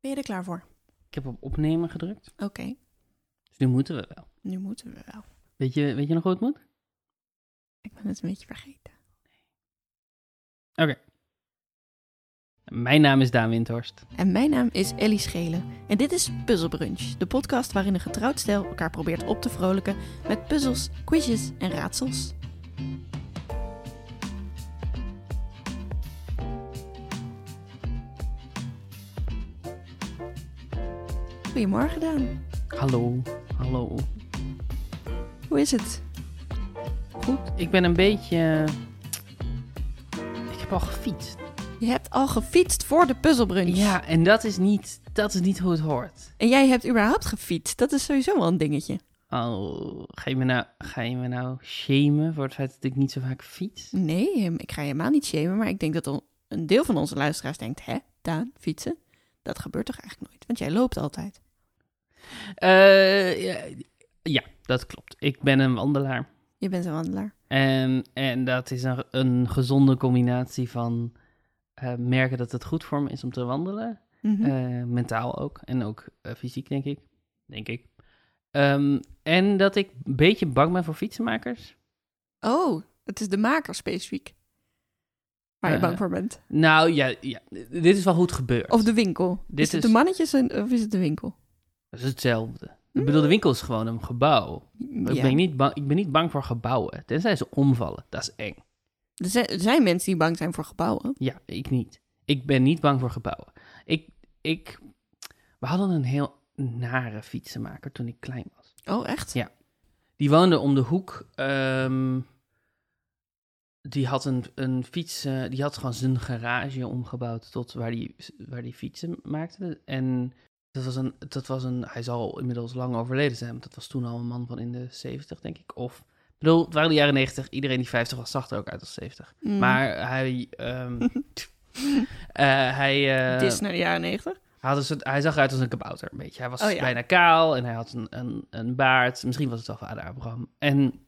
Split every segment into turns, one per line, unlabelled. Ben je er klaar voor?
Ik heb op opnemen gedrukt.
Oké,
Dus nu moeten we wel.
nu moeten we wel.
Weet je, weet je nog hoe het moet? Oké.
Ik ben het een beetje vergeten.
Mijn naam is Daan Windhorst.
En mijn naam is Ellie Schelen. En dit is Puzzlebrunch, de podcast waarin een getrouwd stijl elkaar probeert op te vrolijken met puzzels, quizjes en raadsels. Goedemorgen Daan,
Hallo, hallo.
hoe is het?
Goed, ik ben een beetje... eh, Ik heb al gefietst.
Je hebt al gefietst voor de Puzzlebrunch.
Ja, en dat is niet, dat is niet hoe het hoort.
En jij hebt überhaupt gefietst, dat is sowieso wel een dingetje.
Oh, ga je me nou, ga je me nou shamen voor het feit dat ik niet zo vaak fiets?
Nee, hem- ik ga je helemaal niet shamen, maar ik denk dat al een deel van onze luisteraars denkt, hè, Daan, fietsen? Dat gebeurt toch eigenlijk nooit, want jij loopt altijd.
Eh, ja, ja, dat klopt. Ik ben een wandelaar.
Je bent een wandelaar.
En, en dat is een, een gezonde combinatie van eh, merken dat het goed voor me is om te wandelen.
Mhm.
Eh, mentaal ook. En ook eh, fysiek, denk ik. Denk ik. Ehm, en dat ik een beetje bang ben voor fietsenmakers.
oh, het is de maker specifiek. Waar je
Eh.
bang voor bent.
Nou ja, ja, dit is wel goed gebeurd.
Of de winkel.
Dit
is het
is-
de mannetjes en, of is het de winkel?
Dat is hetzelfde. Ik
Hmm.
bedoel, de winkel is gewoon een gebouw. Ik,
Mm, Ja.
ben niet bang, ik ben niet bang voor gebouwen. Tenzij ze omvallen. Dat is eng.
Er zijn, er zijn mensen die bang zijn voor gebouwen.
Ja, ik niet. Ik ben niet bang voor gebouwen. Ik, ik, we hadden een heel nare fietsenmaker toen ik klein was.
Oh, echt?
Ja. Die woonde om de hoek. ehm, die had een, een fiets. eh, die had gewoon zijn garage omgebouwd tot waar die, waar die fietsen maakte. En dat was, een, dat was een. Hij zal inmiddels lang overleden zijn. want Dat was toen al een man van in de 70, denk ik. Of. Ik bedoel, het waren de jaren 90. Iedereen die 50 was, zag er ook uit als 70.
Mm.
Maar hij. ehm, eh, hij. eh,
het is naar de jaren negentig.
hij, had een soort- hij zag eruit als een kabouter, een beetje. Hij was
Oh, ja.
bijna kaal en hij had een, een, een baard. Misschien was het wel vader Abraham. En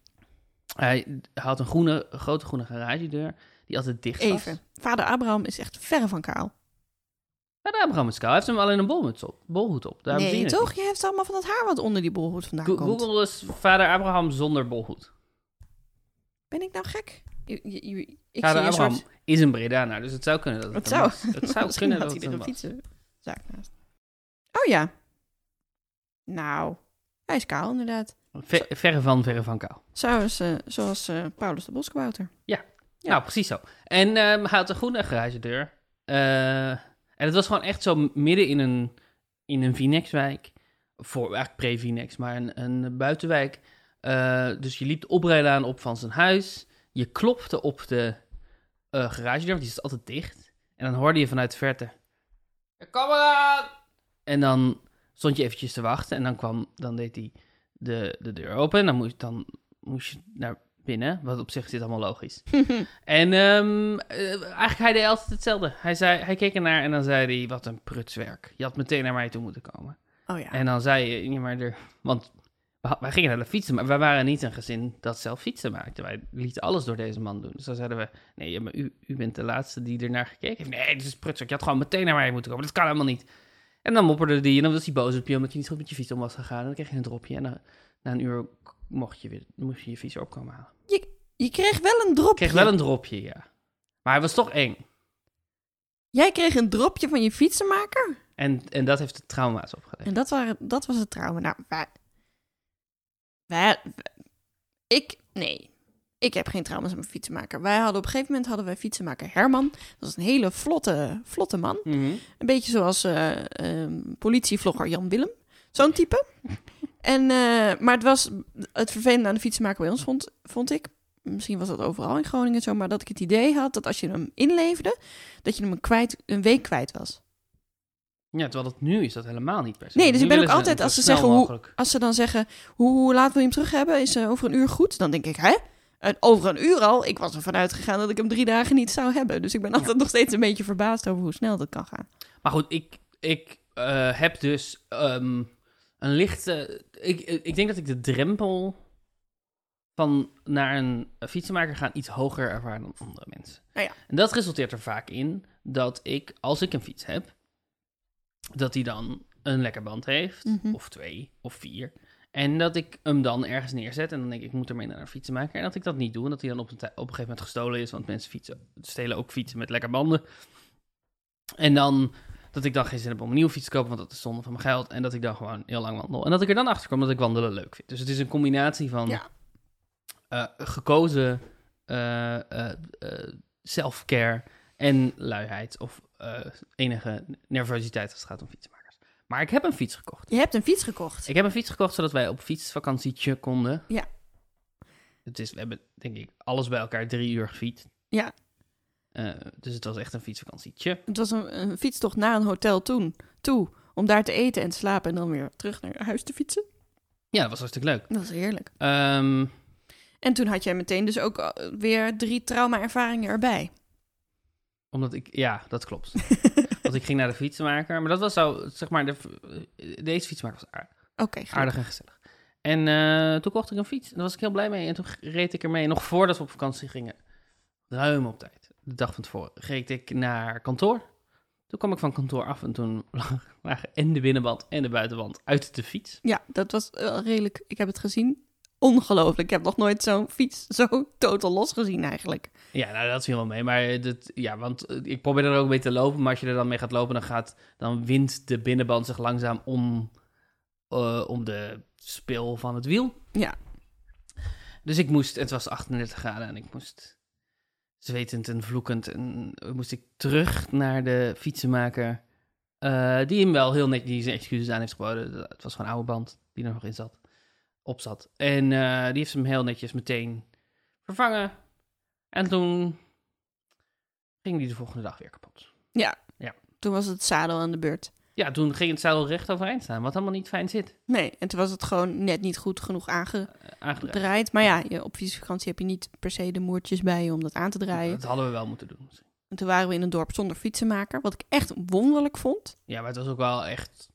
hij had een groene, grote groene garagedeur die altijd dicht was.
Even. Vader Abraham is echt verre van kaal.
Vader Abraham is kaal. Hij heeft hem alleen een bolmuts op, bolhoed op. Daarom zie
nee,
je het
toch?
niet.
Je hebt allemaal van dat haar wat onder die bolhoed vandaan
Go-
komt.
Google is vader Abraham zonder bolhoed.
Ben ik nou gek? Je- je- je- ik
Vader
zie een
Abraham
soort...
is een Bredaner, dus het zou kunnen dat het,
Het
hem
zou,
was. Het zou
misschien
kunnen
had
dat
hij
het
er een
hem was.
fietsenzaak naast. Oh ja. Nou, hij is kaal inderdaad.
Ver- verre van, verre van kaal.
Zoals, eh, zoals eh, Paulus de Boskabouter. Ja.
Nou, precies zo. En ehm, hij had een groene garagedeur. Eh, en het was gewoon echt zo midden in een, in een Vinex-wijk. Voor, eigenlijk pre-Vinex, maar een, een buitenwijk. Eh, dus je liep de oprijlaan op van zijn huis. Je klopte op de eh, garagedeur, want die is altijd dicht. En dan hoorde je vanuit de verte... Kom eraan! En dan stond je eventjes te wachten. En dan kwam, dan deed hij de, de deur open. En dan moest, dan moest je naar binnen. Wat op zich zit allemaal logisch.
Oh
En ehm, eh, eigenlijk hij deed altijd hetzelfde. Hij, zei, hij keek ernaar en dan zei hij, wat een prutswerk. Je had meteen naar mij toe moeten komen.
oh ja.
En dan zei je, ja, maar er... Want we had- wij gingen naar de fietsen, maar wij waren niet een gezin dat zelf fietsen maakte. Wij lieten alles door deze man doen. Dus dan zeiden we, nee, ja, maar u, u bent de laatste die ernaar gekeken heeft. Nee, dit is prutswerk. Je had gewoon meteen naar mij moeten komen. Dat kan helemaal niet. En dan mopperde die en dan was hij boos op je omdat je niet goed met je fiets om was gegaan. En dan kreeg je een dropje en dan, na een uur mocht je weer, moest je je fiets weer opkomen halen.
Je kreeg wel een dropje.
Ik kreeg wel een dropje, ja. Maar hij was toch eng.
Jij kreeg een dropje van je fietsenmaker?
En, en dat heeft de trauma's opgelegd.
En dat, waren, dat was het trauma. Nou, wij, wij- Ik... Nee. Ik heb geen trauma's aan mijn fietsenmaker. Wij hadden op een gegeven moment hadden wij fietsenmaker Herman. Dat was een hele vlotte, vlotte man. Een beetje zoals eh, ehm, politievlogger Jan Willem. Zo'n type. En, eh, maar het was het vervelende aan de fietsenmaker bij ons, vond, vond ik. Misschien was dat overal in Groningen zo, maar dat ik het idee had dat als je hem inleverde, dat je hem een, kwijt, een week kwijt was.
Ja, terwijl dat nu is dat helemaal niet per se.
Nee, dus
Nu
ik ben
willen
ook
ze
altijd,
zo
als ze
snel
zeggen hoe-
mogelijk.
Als ze dan zeggen, hoe, hoe laat wil je hem terug hebben? Is eh, over een uur goed? Dan denk ik, hè? En over een uur al? Ik was ervan uitgegaan dat ik hem drie dagen niet zou hebben. Dus ik ben altijd nog steeds een beetje verbaasd over hoe snel dat kan gaan.
Maar goed, ik, ik eh, heb dus ehm, een lichte... Ik, ik denk dat ik de drempel van naar een fietsenmaker gaan iets hoger ervaar dan andere mensen.
Nou ja.
En dat resulteert er vaak in dat ik, als ik een fiets heb... dat hij dan een lekker band heeft,
Mhm.
of twee, of vier. En dat ik hem dan ergens neerzet en dan denk ik, ik moet ermee naar een fietsenmaker. En dat ik dat niet doe en dat hij dan op een, tij- op een gegeven moment gestolen is, want mensen fietsen, stelen ook fietsen met lekker banden. En dan dat ik dan geen zin heb om een nieuwe fiets te kopen, want dat is zonde van mijn geld. En dat ik dan gewoon heel lang wandel. En dat ik er dan achter kom dat ik wandelen leuk vind. Dus het is een combinatie van
Ja.
eh, gekozen eh, eh, eh, self-care en luiheid. Of eh, enige nervositeit als het gaat om fietsenmakers. Maar ik heb een fiets gekocht.
Je hebt een fiets gekocht.
Ik heb een fiets gekocht zodat wij op fietsvakantietje konden.
Ja.
Het is, we hebben denk ik alles bij elkaar drie uur gefietst.
Ja.
Eh, dus het was echt een fietsvakantietje.
Het was een, een fietstocht naar een hotel toen, toe, om daar te eten en te slapen en dan weer terug naar huis te fietsen.
Ja, dat was hartstikke leuk.
Dat is heerlijk.
Ehm,
En toen had jij meteen dus ook eh, weer drie trauma-ervaringen erbij.
omdat ik, ja, dat klopt. Want ik ging naar de fietsenmaker. Maar dat was zo, zeg maar, de, eh, deze fietsenmaker was aardig.
Oké,
Aardig en gezellig. En eh, toen kocht ik een fiets. En daar was ik heel blij mee. En toen reed ik ermee. Nog voordat we op vakantie gingen. Ruim op tijd. De dag van tevoren. Reed ik naar kantoor. Toen kwam ik van kantoor af. En toen lagen en de binnenband en de buitenband uit de fiets.
Ja, dat was eh, redelijk. Ik heb het gezien. Ongelooflijk. Ik heb nog nooit zo'n fiets zo totaal los gezien eigenlijk.
Ja, nou dat viel wel mee. Maar dat, ja, want eh, ik probeer er ook mee te lopen. Maar als je er dan mee gaat lopen, dan, gaat, dan wint de binnenband zich langzaam om, eh, om de spil van het wiel.
Ja.
Dus ik moest, het was 38 graden en ik moest zwetend en vloekend. En eh, moest ik terug naar de fietsenmaker. eh, die hem wel heel netjes die zijn excuses aan heeft geboden. Het was gewoon een oude band die er nog in zat. Op zat. En eh, die heeft hem heel netjes meteen vervangen. En toen ging die de volgende dag weer kapot.
Toen was het zadel aan de beurt.
Ja, toen ging het zadel recht overeind staan, wat helemaal niet fijn zit.
Nee, en toen was het gewoon net niet goed genoeg aangedraaid.
eh, Aangedraaid.
Maar ja, je, op fietsvakantie heb je niet per se de moertjes bij je om dat aan te draaien.
Dat hadden we wel moeten doen. misschien.
En toen waren we in een dorp zonder fietsenmaker, wat ik echt wonderlijk vond.
Ja, maar het was ook wel echt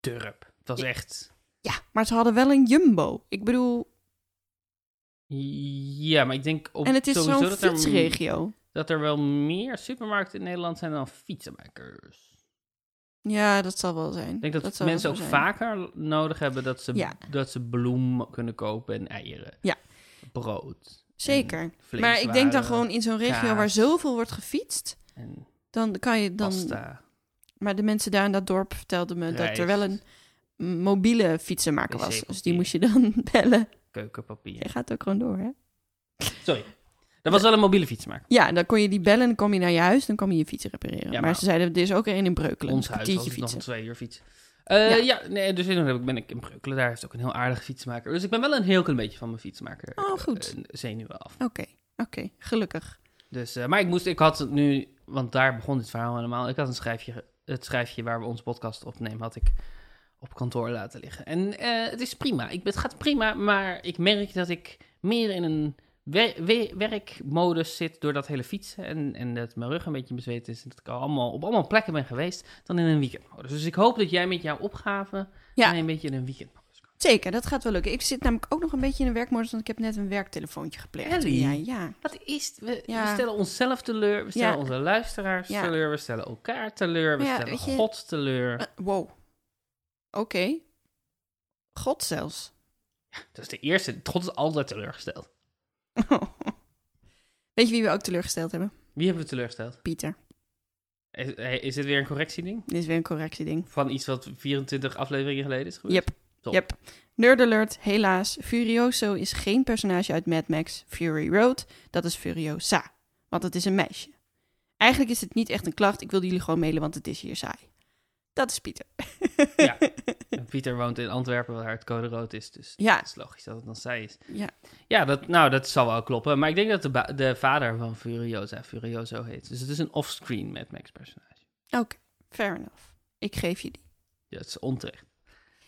turp. Het was
Ja.
echt...
Ja, maar ze hadden wel een jumbo. Ik bedoel,
Ja, maar ik denk op
en het is
sowieso
zo'n
dat er,
fietsregio.
dat er wel meer supermarkten in Nederland zijn dan fietsenmakers.
Ja, dat zal wel zijn.
Ik denk dat,
zal wel
mensen ook
zo zijn.
vaker nodig hebben dat ze,
Ja.
dat ze bloem kunnen kopen en eieren.
Ja.
Brood.
Zeker.
en
Maar ik denk dan
vleeswaren
gewoon in zo'n regio waar
kaas.
zoveel wordt gefietst,
En
dan kan je dan.
pasta.
Maar de mensen daar in dat dorp vertelden me dat er
Rijst.
wel een mobiele fietsenmaker was.
Wc-papier.
Dus die moest je dan bellen.
keukenpapier.
Je gaat ook gewoon door, hè?
Sorry. Dat was wel een mobiele fietsmaker.
Ja, dan kon je die bellen, dan kom je naar je huis, dan kom je je fiets repareren.
Ja,
maar,
maar-
ze zeiden, er is ook een in Breukelen.
Ons
een
huis was
kwartiertje
het nog
fietsen.
een twee uur fiets. Eh,
Ja.
ja. nee, dus toen heb ik- ben ik in Breukelen. Daar heeft ook een heel aardige fietsmaker. Dus ik ben wel een heel klein beetje van mijn fietsmaker
Oh, goed.
eh, zenuwen af.
Oké, oké, gelukkig.
Dus, eh, maar ik moest, ik had het nu, want daar begon dit verhaal helemaal. Ik had een schrijfje, het schrijfje waar we onze podcast opnemen, had ik op kantoor laten liggen. En eh, het is prima. Ik, het gaat prima, maar ik merk dat ik meer in een wer- we- werkmodus zit door dat hele fietsen. En, en dat mijn rug een beetje bezweet is. En dat ik al allemaal, op allemaal plekken ben geweest dan in een weekendmodus. Dus ik hoop dat jij met jouw opgave
Ja.
mij een beetje in een weekendmodus kan.
Zeker, dat gaat wel lukken. Ik zit namelijk ook nog een beetje in een werkmodus, want ik heb net een werktelefoontje gepleegd.
Ellie.
En jij- ja.
Wat is... We, we
Ja.
stellen onszelf teleur, we stellen
Ja.
onze luisteraars
Ja.
teleur, we stellen elkaar teleur, we
Maar ja,
stellen
weet je-
God teleur.
Eh, wow. Oké. God zelfs.
Dat is de eerste. God is altijd teleurgesteld.
Weet je wie we ook teleurgesteld hebben?
Wie hebben we teleurgesteld?
Pieter.
Is, eh, is dit weer een correctieding?
Dit is weer een correctieding.
Van iets wat 24 afleveringen geleden is gebeurd?
Yep.
Top.
Yep. Nerd alert, helaas. Furioso is geen personage uit Mad Max Fury Road. Dat is Furiosa. Want het is een meisje. Eigenlijk is het niet echt een klacht. Ik wilde jullie gewoon mailen, want het is hier saai. Dat is Pieter.
Ja. En Pieter woont in Antwerpen, waar het code rood is. Dus
Ja.
het is logisch dat het dan zij is.
Ja.
Ja, dat, nou, dat zal wel kloppen. Maar ik denk dat de, ba- de vader van Furiosa Furioso heet. Dus het is een offscreen Mad Max personage.
Oké, fair enough. Ik geef je die.
Ja, dat is onterecht.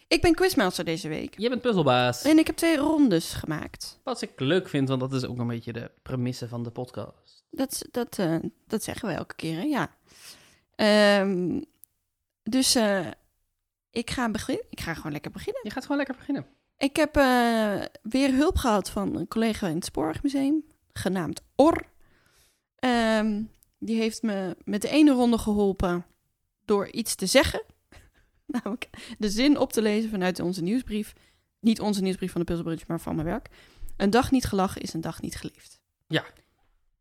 Ik ben quizmaster deze week.
Je bent puzzelbaas.
En ik heb twee rondes gemaakt.
Wat ik leuk vind, want dat is ook een beetje de premisse van de podcast.
Dat, is- dat, eh, dat zeggen we elke keer, hè? ja. Ehm, dus eh, ik, ga begin- ik ga gewoon lekker beginnen.
Je gaat gewoon lekker beginnen.
Ik heb eh, weer hulp gehad van een collega in het Spoorwegmuseum, genaamd Or. Ehm, die heeft me met de ene ronde geholpen door iets te zeggen. Namelijk de zin op te lezen vanuit onze nieuwsbrief. Niet onze nieuwsbrief van de Pilsenbridge, maar van mijn werk. Een dag niet gelachen is een dag niet geleefd.
Ja.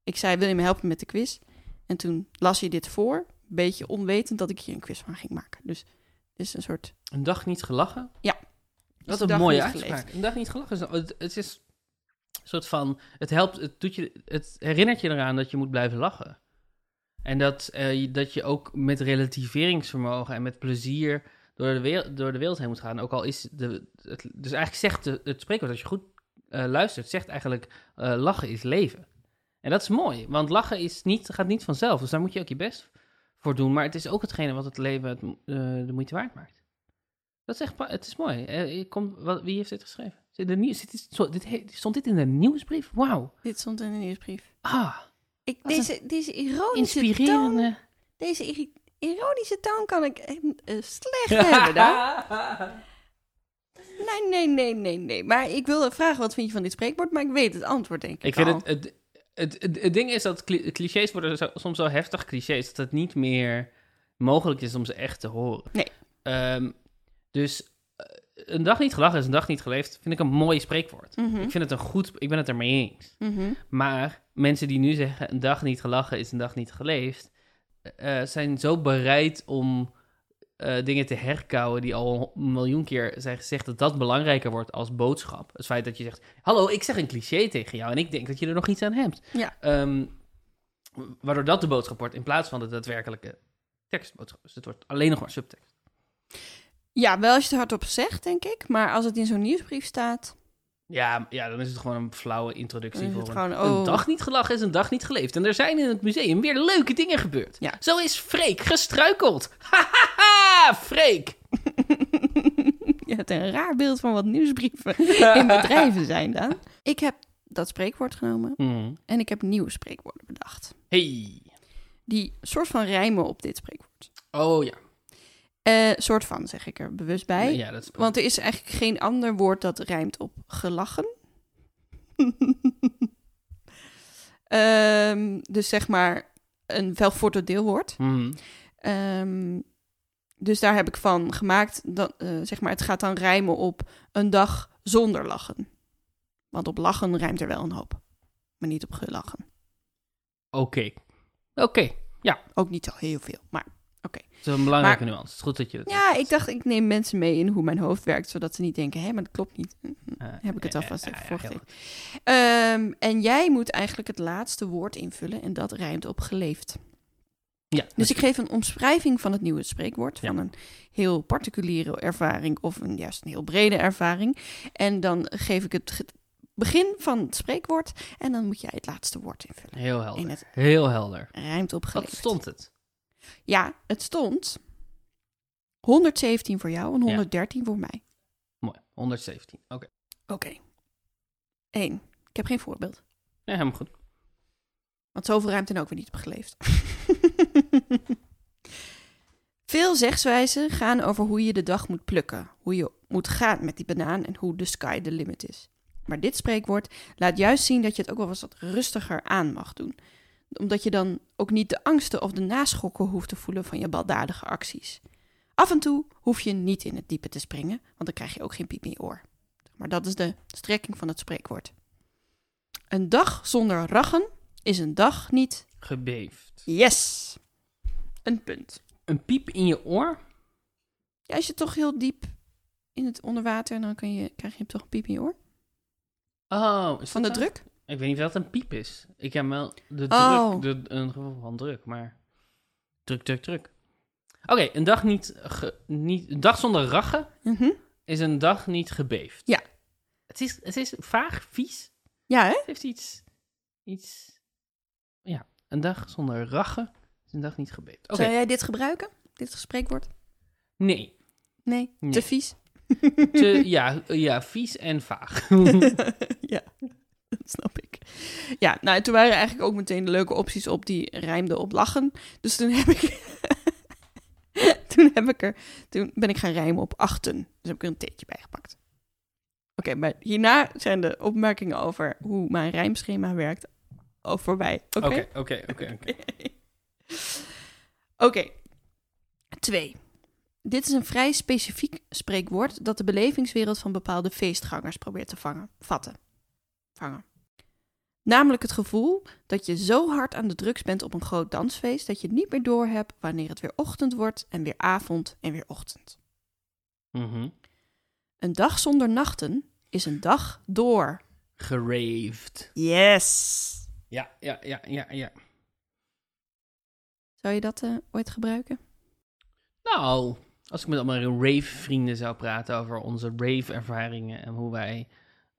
Ik zei, wil je me helpen met de quiz? En toen las je dit voor. Een beetje onwetend dat ik hier een quiz van ging maken. Dus het is een soort...
Een dag niet gelachen.
Ja.
Wat
Is
een
dag
mooie
niet
uitspraak.
geleefd.
Een dag niet gelachen. is een- Het, het is een soort van. Het helpt. Het, doet je, het herinnert je eraan dat je moet blijven lachen. En dat, eh, je- dat je ook met relativeringsvermogen en met plezier door de, wereld, door de wereld heen moet gaan. Ook al is de. Het, dus eigenlijk zegt de, het spreekwoord, als je goed eh, luistert, zegt eigenlijk: eh, lachen is leven. En dat is mooi, want lachen is niet, gaat niet vanzelf. Dus daar moet je ook je best voor doen. Maar het is ook hetgene wat het leven het, mo- eh, de moeite waard maakt. Dat is echt, pa- het is mooi. Eh, ik kom, wat, wie heeft dit geschreven? Zit er nieuws, dit is, zo- dit he- stond dit in de nieuwsbrief? Wauw.
Dit stond in de nieuwsbrief.
Ah,
Ik,
Wat een
deze, deze ironische toon...
inspirerende.
Deze iri- ironische toon kan ik eh, eh, slecht hebben dan. Nee, nee, nee, nee, nee. Maar ik wilde vragen, wat vind je van dit spreekwoord? Maar ik weet het antwoord, denk ik
Ik vind
al.
het het, het, het... het ding is dat cli- clichés worden zo- soms zo heftig clichés... dat het niet meer mogelijk is om ze echt te horen.
Nee.
Ehm, dus eh, een dag niet gelachen is een dag niet geleefd... vind ik een mooi spreekwoord.
Mhm,
Ik vind het een goed... Ik ben het ermee eens.
mhm.
Maar mensen die nu zeggen: een dag niet gelachen is een dag niet geleefd, eh, eh, zijn zo bereid om eh, dingen te herkauwen die al een miljoen keer zijn gezegd, dat dat belangrijker wordt als boodschap. Het feit dat je zegt: Hallo, ik zeg een cliché tegen jou en ik denk dat je er nog iets aan hebt.
Ja.
Ehm, waardoor dat de boodschap wordt in plaats van de daadwerkelijke tekstboodschap. Dus het wordt alleen nog maar subtekst.
Ja, wel als je het hardop zegt, denk ik. Maar als het in zo'n nieuwsbrief staat...
Ja, ja, dan is het gewoon een flauwe introductie
Dan is
voor
het
een,
gewoon, oh.
een dag niet gelachen is een dag niet geleefd. En er zijn in het museum weer leuke dingen gebeurd.
Ja.
Zo is Freek gestruikeld. Hahaha, Freek.
je hebt een raar beeld van wat nieuwsbrieven in bedrijven zijn dan. Ik heb dat spreekwoord genomen
Hmm.
en ik heb nieuwe spreekwoorden bedacht.
Hey.
Die soort van rijmen op dit spreekwoord.
Oh ja.
Eh, soort van, zeg ik er bewust bij.
Ja, dat is...
Want er is eigenlijk geen ander woord dat rijmt op gelachen. Ehm, dus zeg maar een welvoordeeld deelwoord.
Hmm.
Ehm, dus daar heb ik van gemaakt, dat, eh, zeg maar, het gaat dan rijmen op een dag zonder lachen. Want op lachen rijmt er wel een hoop, maar niet op gelachen.
Oké. Oké.
Ook niet zo heel veel, maar oké.
Dat is een belangrijke nuance. Het is goed dat je dat
Ja, ik dacht, ik neem mensen mee in hoe mijn hoofd werkt, zodat ze niet denken, hé, maar dat klopt niet.
Eh,
heb ik het
eh,
alvast
eh,
even
eh,
voorgegeven.
heel goed.
Ehm, en jij moet eigenlijk het laatste woord invullen en dat rijmt op geleefd.
Ja.
Dus ik geef een omschrijving van het nieuwe spreekwoord, van
Ja.
een heel particuliere ervaring of een, juist een heel brede ervaring. En dan geef ik het ge- begin van het spreekwoord en dan moet jij het laatste woord invullen.
Heel helder.
In het-
Heel helder.
Rijmt op geleefd.
Wat stond het?
Ja, het stond 117 voor jou en
Ja.
113 voor mij.
Mooi. 117. Oké.
Oké. Eén. Ik heb geen voorbeeld.
Ja, helemaal goed.
Want zoveel ruimte en ook weer niet op geleefd. Veel zegswijzen gaan over hoe je de dag moet plukken, hoe je moet gaan met die banaan en hoe de sky the limit is. Maar dit spreekwoord laat juist zien dat je het ook wel eens wat rustiger aan mag doen. Omdat je dan ook niet de angsten of de naschokken hoeft te voelen van je baldadige acties. Af en toe hoef je niet in het diepe te springen, want dan krijg je ook geen piep in je oor. Maar dat is de strekking van het spreekwoord. Een dag zonder rachen is een dag niet.
Gebeefd.
Yes! Een punt.
Een piep in je oor?
Ja, als je toch heel diep in het onderwater, dan kan je, krijg je toch een piep in je oor.
Oh, is
Van de
dat zo?
druk?
Ik weet niet of dat een piep is. Ik heb wel de
Oh.
druk, de, een gevoel van druk, maar druk, druk, druk. Oké, een, dag niet ge- niet, een dag zonder rachen
Mhm.
is een dag niet gebeefd.
Ja.
Het is, het is vaag, vies.
Ja, hè?
Het heeft iets, iets... Ja, een dag zonder rachen is een dag niet gebeefd. Oké,
Zou jij dit gebruiken? Dit spreekwoord?
nee.
Nee?
Nee.
Te vies?
Te, ja, ja, vies en vaag.
ja, dat snap ik. Ja, nou, en toen waren eigenlijk ook meteen de leuke opties op die rijmden op lachen. Dus toen heb ik... toen heb ik er... Toen ben ik gaan rijmen op achten. Dus heb ik er een teetje bij gepakt. Oké, maar hierna zijn de opmerkingen over hoe mijn rijmschema werkt al voorbij. Oké?
Oké, oké, oké. oké.
Oké. Twee. Dit is een vrij specifiek spreekwoord dat de belevingswereld van bepaalde feestgangers probeert te vangen, vatten. Vangen. Namelijk het gevoel dat je zo hard aan de drugs bent op een groot dansfeest dat je niet meer doorhebt wanneer het weer ochtend wordt en weer avond en weer ochtend.
Mhm.
Een dag zonder nachten is een dag door.
Geraved.
Yes!
Ja, ja, ja, ja, ja.
Zou je dat eh, ooit gebruiken?
Nou, als ik met allemaal rave-vrienden zou praten over onze rave-ervaringen en hoe wij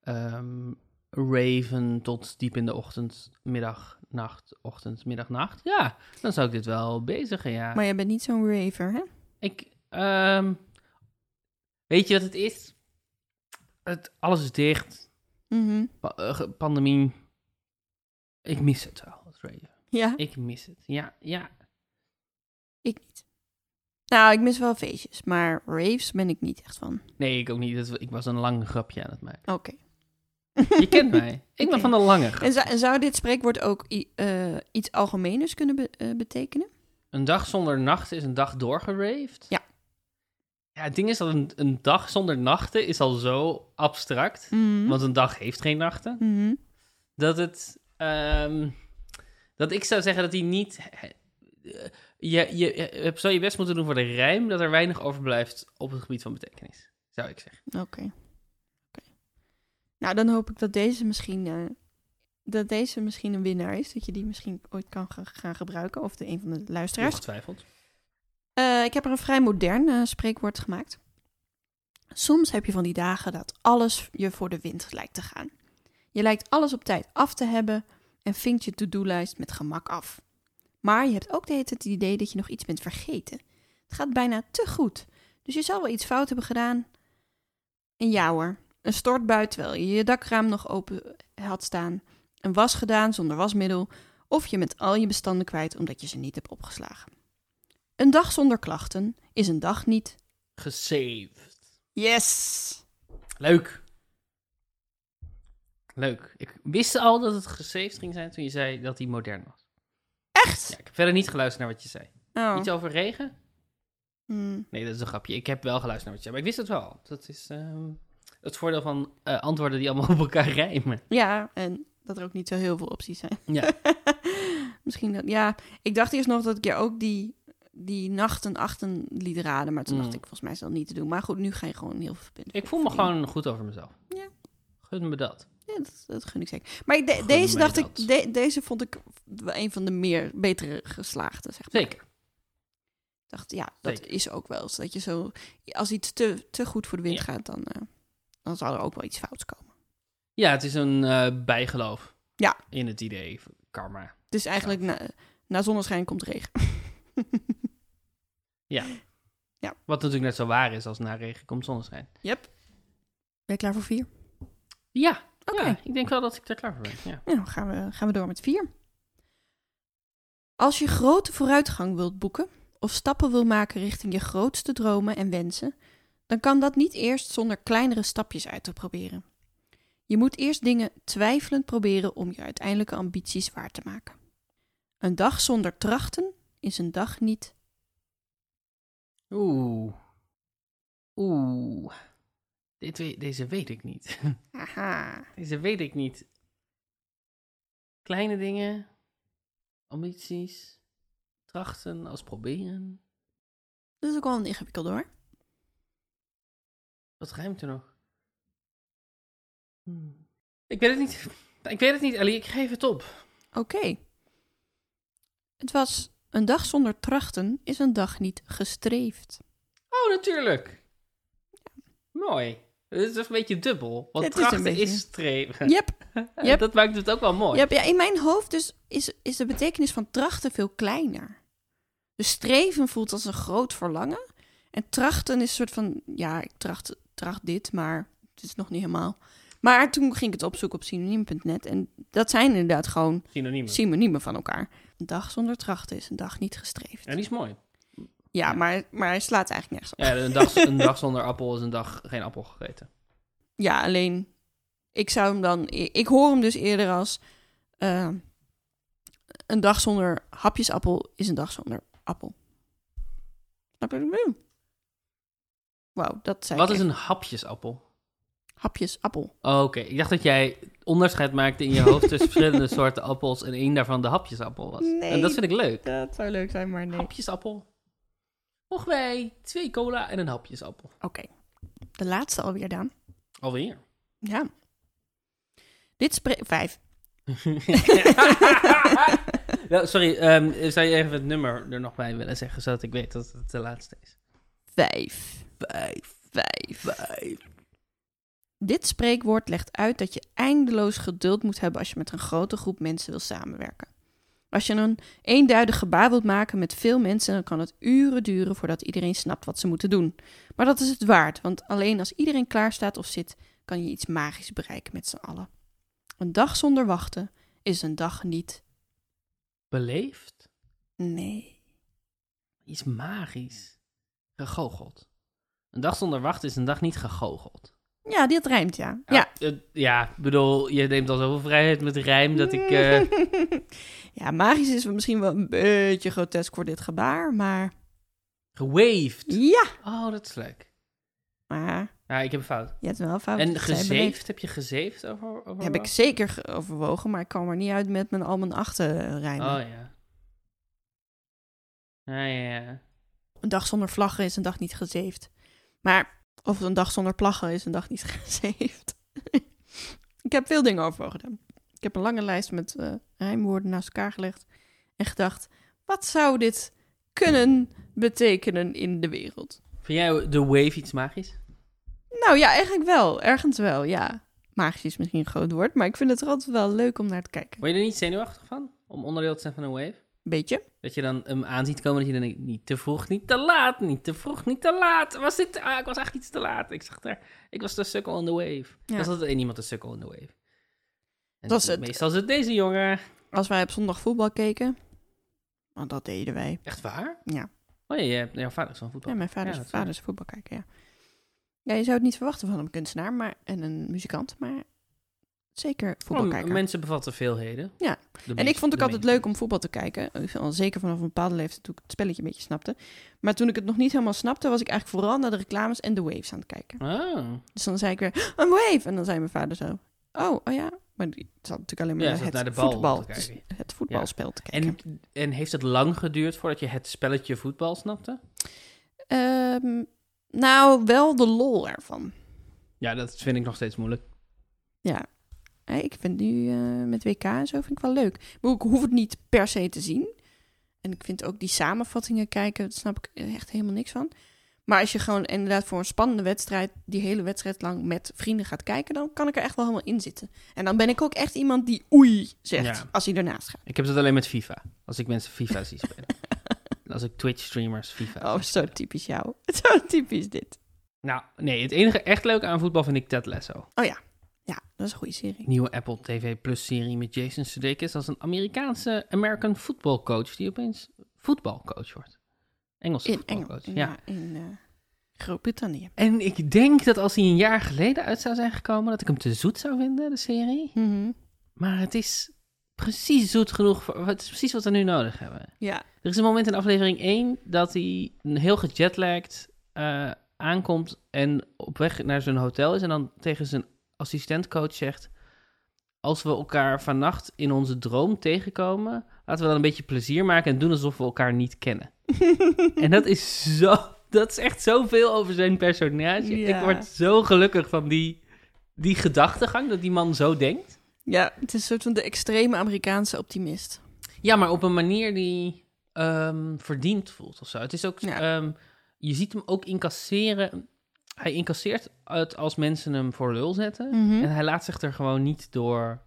ehm, raven tot diep in de ochtend, middag, nacht, ochtend, middag, nacht. Ja, dan zou ik dit wel bezigen, ja.
Maar jij bent niet zo'n raver, hè?
Ik, ehm, weet je wat het is? Het, alles is dicht,
Mhm.
pa- eh, ge- pandemie. Ik mis het wel, het raven.
Ja,
Ik mis het, ja, ja.
ik niet. Nou, ik mis wel feestjes, maar raves ben ik niet echt van.
Nee, ik ook niet. Dat is- Ik was een lang grapje aan het maken.
Oké.
Je kent mij. Ik ben van de lange grap.
En, zou- en zou dit spreekwoord ook i- eh, iets algemeners kunnen be- eh, betekenen?
Een dag zonder nachten is een dag doorgeraved?
Ja.
Ja, het ding is dat een, een dag zonder nachten is al zo abstract.
Mhm.
Want een dag heeft geen nachten.
Mhm.
Dat het... ehm, dat ik zou zeggen dat die niet... eh, Je, je, je hebt zo je best moeten doen voor de rijm... dat er weinig overblijft op het gebied van betekenis. Zou ik zeggen.
Oké. Oké. Nou, dan hoop ik dat deze misschien... eh, dat deze misschien een winnaar is. Dat je die misschien ooit kan ge- gaan gebruiken. Of de een van de luisteraars.
Ongetwijfeld.
Eh, ik heb er een vrij modern eh, spreekwoord gemaakt. Soms heb je van die dagen dat alles je voor de wind lijkt te gaan. Je lijkt alles op tijd af te hebben en vinkt je to-do-lijst met gemak af. Maar je hebt ook de hele tijd het idee dat je nog iets bent vergeten. Het gaat bijna te goed, dus je zal wel iets fout hebben gedaan. En ja hoor, een stortbui terwijl je je dakraam nog open had staan, een was gedaan zonder wasmiddel, of je bent al je bestanden kwijt omdat je ze niet hebt opgeslagen. Een dag zonder klachten is een dag niet.
Gesaved.
Yes!
Leuk. Leuk. Ik wist al dat het gesaved ging zijn toen je zei dat hij modern was. Ja,
Echt?
ik heb verder niet geluisterd naar wat je zei.
Oh.
Iets over regen?
Hmm.
Nee, dat is een grapje. Ik heb wel geluisterd naar wat je zei, maar ik wist het wel. Dat is ehm, het voordeel van eh, antwoorden die allemaal op elkaar rijmen.
Ja, en dat er ook niet zo heel veel opties zijn.
Ja.
Misschien dat, ja. Ik dacht eerst nog dat ik je ook die, die nachten achten liet raden, maar toen
Hmm.
dacht ik, volgens mij is dat niet te doen. Maar goed, nu ga je gewoon heel veel punten.
Ik voel me
verdienen.
gewoon goed over mezelf.
Ja.
Gun me dat.
Ja, dat, dat gun ik zeker. Maar ik de-
Gun
deze
mij
dacht ik,
dat.
de- deze vond ik wel een van de meer betere geslaagde, zeg maar.
Zeker.
Ik dacht, ja, dat
Zeker.
is ook wel eens. Dat je zo, als iets te, te goed voor de wind
Ja.
gaat, dan, eh, dan zal er ook wel iets fouts komen.
Ja, het is een eh, bijgeloof.
Ja.
In het idee van karma.
Het is Dus eigenlijk na, na zonneschijn komt regen.
Wat natuurlijk net zo waar is als na regen komt zonneschijn.
Ben je klaar voor vier?
Ja.
Oké.
Ja, ik denk wel dat ik daar klaar voor ben. Ja.
Nou, dan gaan we, gaan we door met vier. Als je grote vooruitgang wilt boeken of stappen wil maken richting je grootste dromen en wensen, dan kan dat niet eerst zonder kleinere stapjes uit te proberen. Je moet eerst dingen twijfelend proberen om je uiteindelijke ambities waar te maken. Een dag zonder trachten is een dag niet.
Oeh. Oeh. Dit, we- deze weet ik niet.
Aha.
Deze weet ik niet. Kleine dingen, ambities, trachten als proberen.
Dat is ook wel een ingewikkelde hoor.
Wat ruimt er nog? Hmm. Ik weet het niet. Ik weet het niet, Ali. Ik geef het op.
Oké. Het was een dag zonder trachten is een dag niet gestreefd.
Oh, natuurlijk. Mooi. Het is een beetje dubbel. Want
Het is een
trachten is,
beetje-
streven.
Yep. Yep.
Dat maakt het ook wel mooi.
Ja, ja, in mijn hoofd dus is, is de betekenis van trachten veel kleiner. Dus streven voelt als een groot verlangen. En trachten is een soort van, ja, ik tracht, tracht dit, maar het is nog niet helemaal. Maar toen ging ik het opzoeken op synoniem.net. En dat zijn inderdaad gewoon
Synoniemen.
synoniemen van elkaar. Een dag zonder trachten is een dag niet gestreefd.
ja, die is mooi.
Ja, maar, maar hij slaat eigenlijk nergens op.
Ja, een dag, een dag zonder appel is een dag geen appel gegeten.
Ja, alleen ik zou hem dan. Ik hoor hem dus eerder als. eh, een dag zonder hapjesappel is een dag zonder appel. Snap je wat ik bedoel? Wauw, dat zijn
Wat is een hapjesappel?
hapjes appel.
Oh, Oké, ik dacht dat jij onderscheid maakte in je hoofd tussen verschillende soorten appels en één daarvan de hapjesappel was.
Nee.
En dat vind ik leuk.
Dat zou leuk zijn, maar nee. Oké,
Hapjesappel. Mogen wij twee cola en een hapjesappel?
de laatste alweer dan.
Alweer.
Ja. Dit spreekt... Vijf.
Nou, sorry, ehm, zou je even het nummer er nog bij willen zeggen, zodat ik weet dat het de laatste is?
Vijf.
Vijf.
Vijf.
Vijf.
Dit spreekwoord legt uit dat je eindeloos geduld moet hebben als je met een grote groep mensen wil samenwerken. Als je een eenduidig gebaar wilt maken met veel mensen, dan kan het uren duren voordat iedereen snapt wat ze moeten doen. Maar dat is het waard, want alleen als iedereen klaar staat of zit, kan je iets magisch bereiken met z'n allen. Een dag zonder wachten is een dag niet.
Beleefd?
Nee.
Iets magisch. Gegoocheld. Een dag zonder wachten is een dag niet gegoocheld.
Ja, dit rijmt, ja. Ja,
eh, ja, ik bedoel, je neemt al zoveel vrijheid met rijm dat ik... eh,
ja magisch is misschien wel een beetje grotesk voor dit gebaar, maar
gewaved.
ja.
Oh, dat is leuk.
Maar
Ja, ik heb een fout.
Je hebt wel fout.
En
Zij Oh, beleefd.
gezeefd? Heb je gezeefd over... over
Heb ik zeker ge- overwogen, maar ik kwam er niet uit met mijn al mijn achterrijmen.
Oh, ja. Ja, ja, ja.
Een dag zonder vlaggen is een dag niet gezeefd. Maar, of een dag zonder plaggen is een dag niet gezeefd. ik heb veel dingen overwogen. dan. Ik heb een lange lijst met eh, rijmwoorden naast elkaar gelegd. En gedacht, wat zou dit kunnen betekenen in de wereld?
Vind jij de wave iets magisch?
Nou ja, eigenlijk wel. Ergens wel, ja. Magisch is misschien een groot woord, maar ik vind het er altijd wel leuk om naar te kijken.
Word je er niet zenuwachtig van? Om onderdeel te zijn van een wave?
Beetje?
Dat je dan hem aan ziet komen dat je dan denkt, niet te vroeg, niet te laat, niet te vroeg, niet te laat. Was dit, ah, ik was eigenlijk iets te laat. Ik zag daar, ik was de sukkel on the wave.
Ja.
Dat is altijd één iemand de sukkel on the wave. En
Dat is het.
Meestal is het deze jongen.
Als wij op zondag voetbal keken, want dat deden wij.
Echt waar?
Ja.
Oh ja, je hebt- jouw vader is van voetbal.
Ja, mijn vader,
Ja,
is,
dat
vader is voetbal kijken, ja. Ja, je zou het niet verwachten van een kunstenaar maar, en een muzikant, maar zeker voetbal
Oh,
kijken.
mensen bevatten veelheden.
Ja.
De
en ik
meest-
vond
de
het ook altijd
meest-
leuk om voetbal te kijken. Ik vind al Zeker vanaf een bepaalde leeftijd toen ik het spelletje een beetje snapte. Maar toen ik het nog niet helemaal snapte, was ik eigenlijk vooral naar de reclames en de waves aan het kijken.
Oh.
Dus dan zei ik weer, een wave! En dan zei mijn vader zo, oh, oh ja. Maar die zat natuurlijk alleen maar
Ja,
naar
zat
het,
naar de bal
voetbal,
te kijken.
dus het voetbalspel te kijken.
En, en heeft het lang geduurd voordat je het spelletje voetbal snapte?
Ehm, nou, wel de lol ervan.
Ja, dat vind ik nog steeds moeilijk.
Hè, Ik vind nu eh, met WK en zo vind ik wel leuk. Ik bedoel, Ik hoef het niet per se te zien. En ik vind ook die samenvattingen kijken, daar snap ik echt helemaal niks van. Maar als je gewoon inderdaad voor een spannende wedstrijd die hele wedstrijd lang met vrienden gaat kijken, dan kan ik er echt wel helemaal in zitten. En dan ben ik ook echt iemand die oei zegt
Ja.
als hij ernaast gaat.
Ik heb dat alleen met FIFA. Als ik mensen FIFA zie spelen. En als ik Twitch-streamers FIFA
Oh, zo typisch jou. Zo typisch dit.
Nou, nee, het enige echt leuke aan voetbal vind ik Ted Lasso.
Oh ja, ja, dat is een goede serie.
Nieuwe Apple TV Plus serie met Jason Sudeikis als een Amerikaanse American football coach die opeens voetbalcoach wordt. Engelse
In Engeland,
voetbalcoach, ja.
ja, in eh, Groot-Brittannië.
En ik denk dat als hij een jaar geleden uit zou zijn gekomen, dat ik hem te zoet zou vinden, de serie.
Mhm. Maar
Maar het is precies zoet genoeg, voor, het is precies wat we nu nodig hebben.
ja,
Er is een moment in aflevering 1 dat hij een heel gejetlagd eh, aankomt en op weg naar zijn hotel is. En dan tegen zijn assistentcoach zegt: Als we elkaar vannacht in onze droom tegenkomen, laten we dan een beetje plezier maken en doen alsof we elkaar niet kennen. en dat is zo. Dat is echt zoveel over zijn personage.
Ja.
Ik word zo gelukkig van die, die gedachtegang dat die man zo denkt.
ja, het is een soort van de extreme Amerikaanse optimist.
Ja, maar op een manier die ehm, verdiend voelt of zo. Het is ook,
Ja.
ehm, je ziet hem ook incasseren. Hij incasseert het als mensen hem voor lul zetten.
Mhm.
En hij laat zich er gewoon niet door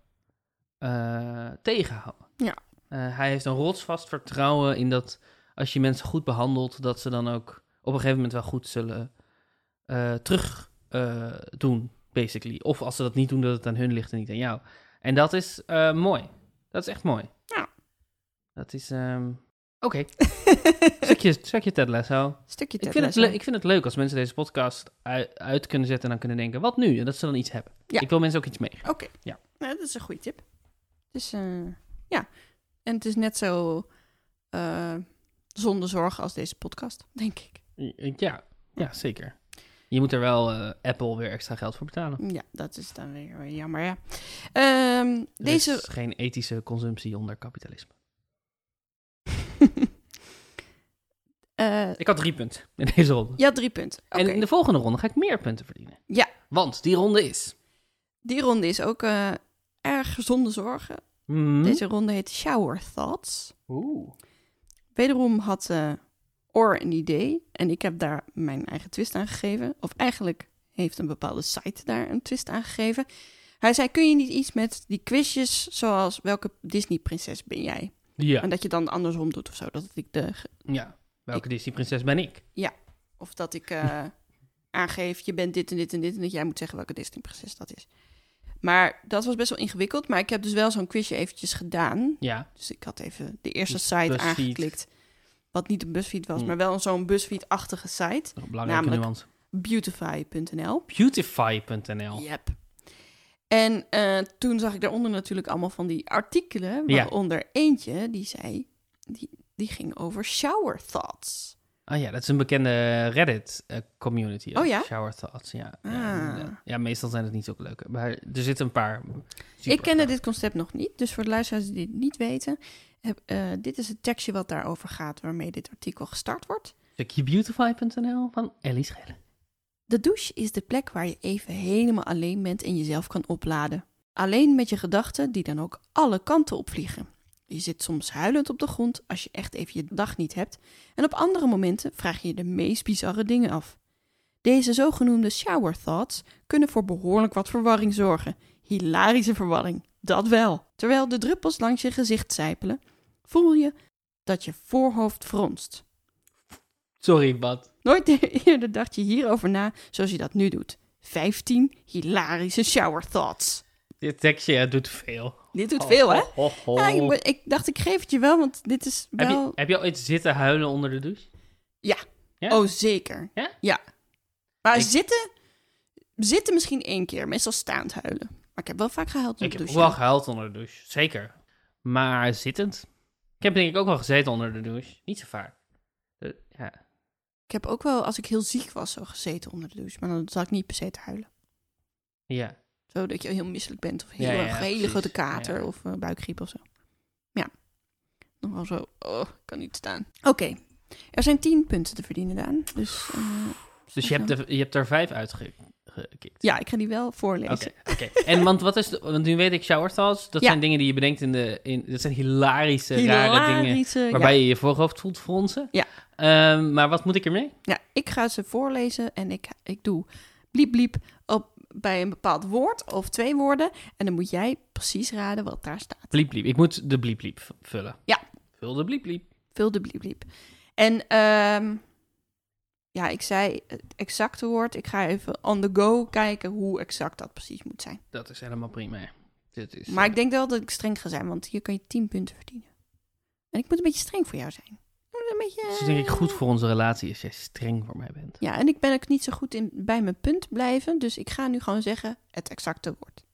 eh, tegenhouden.
Ja.
Eh, hij heeft een rotsvast vertrouwen in dat als je mensen goed behandelt, dat ze dan ook op een gegeven moment wel goed zullen eh, terug eh, doen, basically. Of als ze dat niet doen, dat het aan hun ligt en niet aan jou. En dat is eh, mooi. Dat is echt mooi.
Ja.
Dat is. ehm, Oké, stukje, stukje Ted Lasso.
Stukje
Ik
Ted
vind, het
Lasso.
le- ik vind het leuk als mensen deze podcast uit, uit kunnen zetten en dan kunnen denken, wat nu? En dat ze dan iets hebben.
Ja.
Ik wil mensen ook iets meegeven.
Oké.
Ja.
Nou, dat is een goede tip. Dus eh, ja. En het is net zo eh zonder zorg als deze podcast, denk ik.
Ja, ja zeker. Je moet er wel eh, Apple weer extra geld voor betalen.
Ja, dat is dan weer eh, jammer, ja. Ehm,
Er is
deze...
geen ethische consumptie onder kapitalisme.
eh,
Ik had drie punten in deze ronde.
ja, drie punten. Oké,
En in de volgende ronde ga ik meer punten verdienen.
Ja.
Want die ronde is...
die ronde is ook eh, erg gezonde zorgen.
Hmm.
Deze ronde heet Shower Thoughts.
Oeh.
Wederom had eh Or een idee en ik heb daar mijn eigen twist aan gegeven. Of eigenlijk heeft een bepaalde site daar een twist aan gegeven. Hij zei, kun je niet iets met die quizjes zoals welke Disney-prinses ben jij?
Ja.
En dat je dan andersom doet of zo. Dat ik de,
ja. Welke Disney-prinses ben ik?
of dat ik eh, aangeef, je bent dit en dit en dit en dat jij moet zeggen welke Disney-prinses dat is. Maar dat was best wel ingewikkeld. Maar ik heb dus wel zo'n quizje eventjes gedaan.
Ja.
Dus ik had even de eerste
Dus
site
BuzzFeed.
aangeklikt. Wat niet een busfeed was,
Hmm.
maar wel zo'n busfeed-achtige site.
Nog een belangrijke
Namelijk-
nuance.
Beautify.nl.
Beautify.nl.
Yep. En eh, toen zag ik daaronder natuurlijk allemaal van die artikelen.
Ja.
Waaronder eentje die zei, die, die ging over shower thoughts.
Ah ja, dat is een bekende Reddit-community.
Oh ja?
Shower Thoughts, ja. Ja,
Ah.
inderdaad. Ja, meestal zijn het niet zo leuke. Maar er zitten een paar... super-
ik kende dit concept nog niet, dus voor de luisteraars die dit niet weten... Heb, eh, dit is het tekstje wat daarover gaat, waarmee dit artikel gestart wordt.
Stukje Beautify.nl van Ellie Schellen.
De douche is de plek waar je even helemaal alleen bent en jezelf kan opladen. Alleen met je gedachten die dan ook alle kanten opvliegen. Je zit soms huilend op de grond als je echt even je dag niet hebt en op andere momenten vraag je je de meest bizarre dingen af. Deze zogenoemde shower thoughts kunnen voor behoorlijk wat verwarring zorgen. Hilarische verwarring, dat wel. Terwijl de druppels langs je gezicht sijpelen, voel je dat je voorhoofd fronst.
Sorry, wat?
Nooit eerder dacht je hierover na zoals je dat nu doet. 15 hilarische shower thoughts.
Dit tekstje ja, doet veel.
Dit doet veel, hè?
Ho, ho, ho.
Ja, ik, be- ik dacht, ik geef het je wel, want dit is
oh. heb,
wel...
je, heb je al iets zitten huilen onder de douche? je-
Oh, zeker.
Ja?
Maar
Ik-
zitten... Zitten misschien één keer, meestal staand huilen. Maar ik heb wel vaak gehuild op
Ik
de
heb ook
douche.
wel gehuild onder de douche, zeker. Maar zittend? Ik heb denk ik ook wel gezeten onder de douche. Niet zo vaak. Eh, ja.
Ik heb ook wel, als ik heel ziek was, zo gezeten onder de douche. Maar dan zat ik niet per se te huilen.
ja.
Zo dat je heel misselijk bent of heel, eh,
Ja, ja,
erg- hele
precies.
grote kater
Ja.
of eh, buikgriep of zo. Ja. Nog wel zo, oh, ik kan niet staan. Oké, er zijn tien punten te verdienen, Daan. Dus eh,
Dus je hebt, er, je hebt er vijf uitgekikt.
ja, ik ga die wel voorlezen.
Oké, oké. En want wat is, de- want nu weet ik shower thoughts, dat
Ja.
zijn dingen die je bedenkt in de, in, dat zijn hilarische, rare dingen,
Hilarische- eh, ja.
waarbij je je voorhoofd voelt fronsen.
Ja.
Ehm, maar wat moet ik ermee?
Ja, ik ga ze voorlezen en ik, ik doe bliep bliep op, bij een bepaald woord of twee woorden. En dan moet jij precies raden wat daar staat.
Bliep bliep. Ik moet de bliep bliep v- vullen.
Ja.
Vul de bliep bliep.
Vul de bliep bliep. En ehm, ja, ik zei het exacte woord. Ik ga even on the go kijken hoe exact dat precies moet zijn.
Dat is helemaal prima. Dit is,
Maar
eh,
ik denk wel dat ik streng ga zijn, want hier kan je 10 punten verdienen. En ik moet een beetje streng voor jou zijn. Ik moet een beetje...
Het is denk ik goed voor onze relatie als jij streng voor mij bent.
Ja, en ik ben ook niet zo goed in bij mijn punt blijven. Dus ik ga nu gewoon zeggen het exacte woord.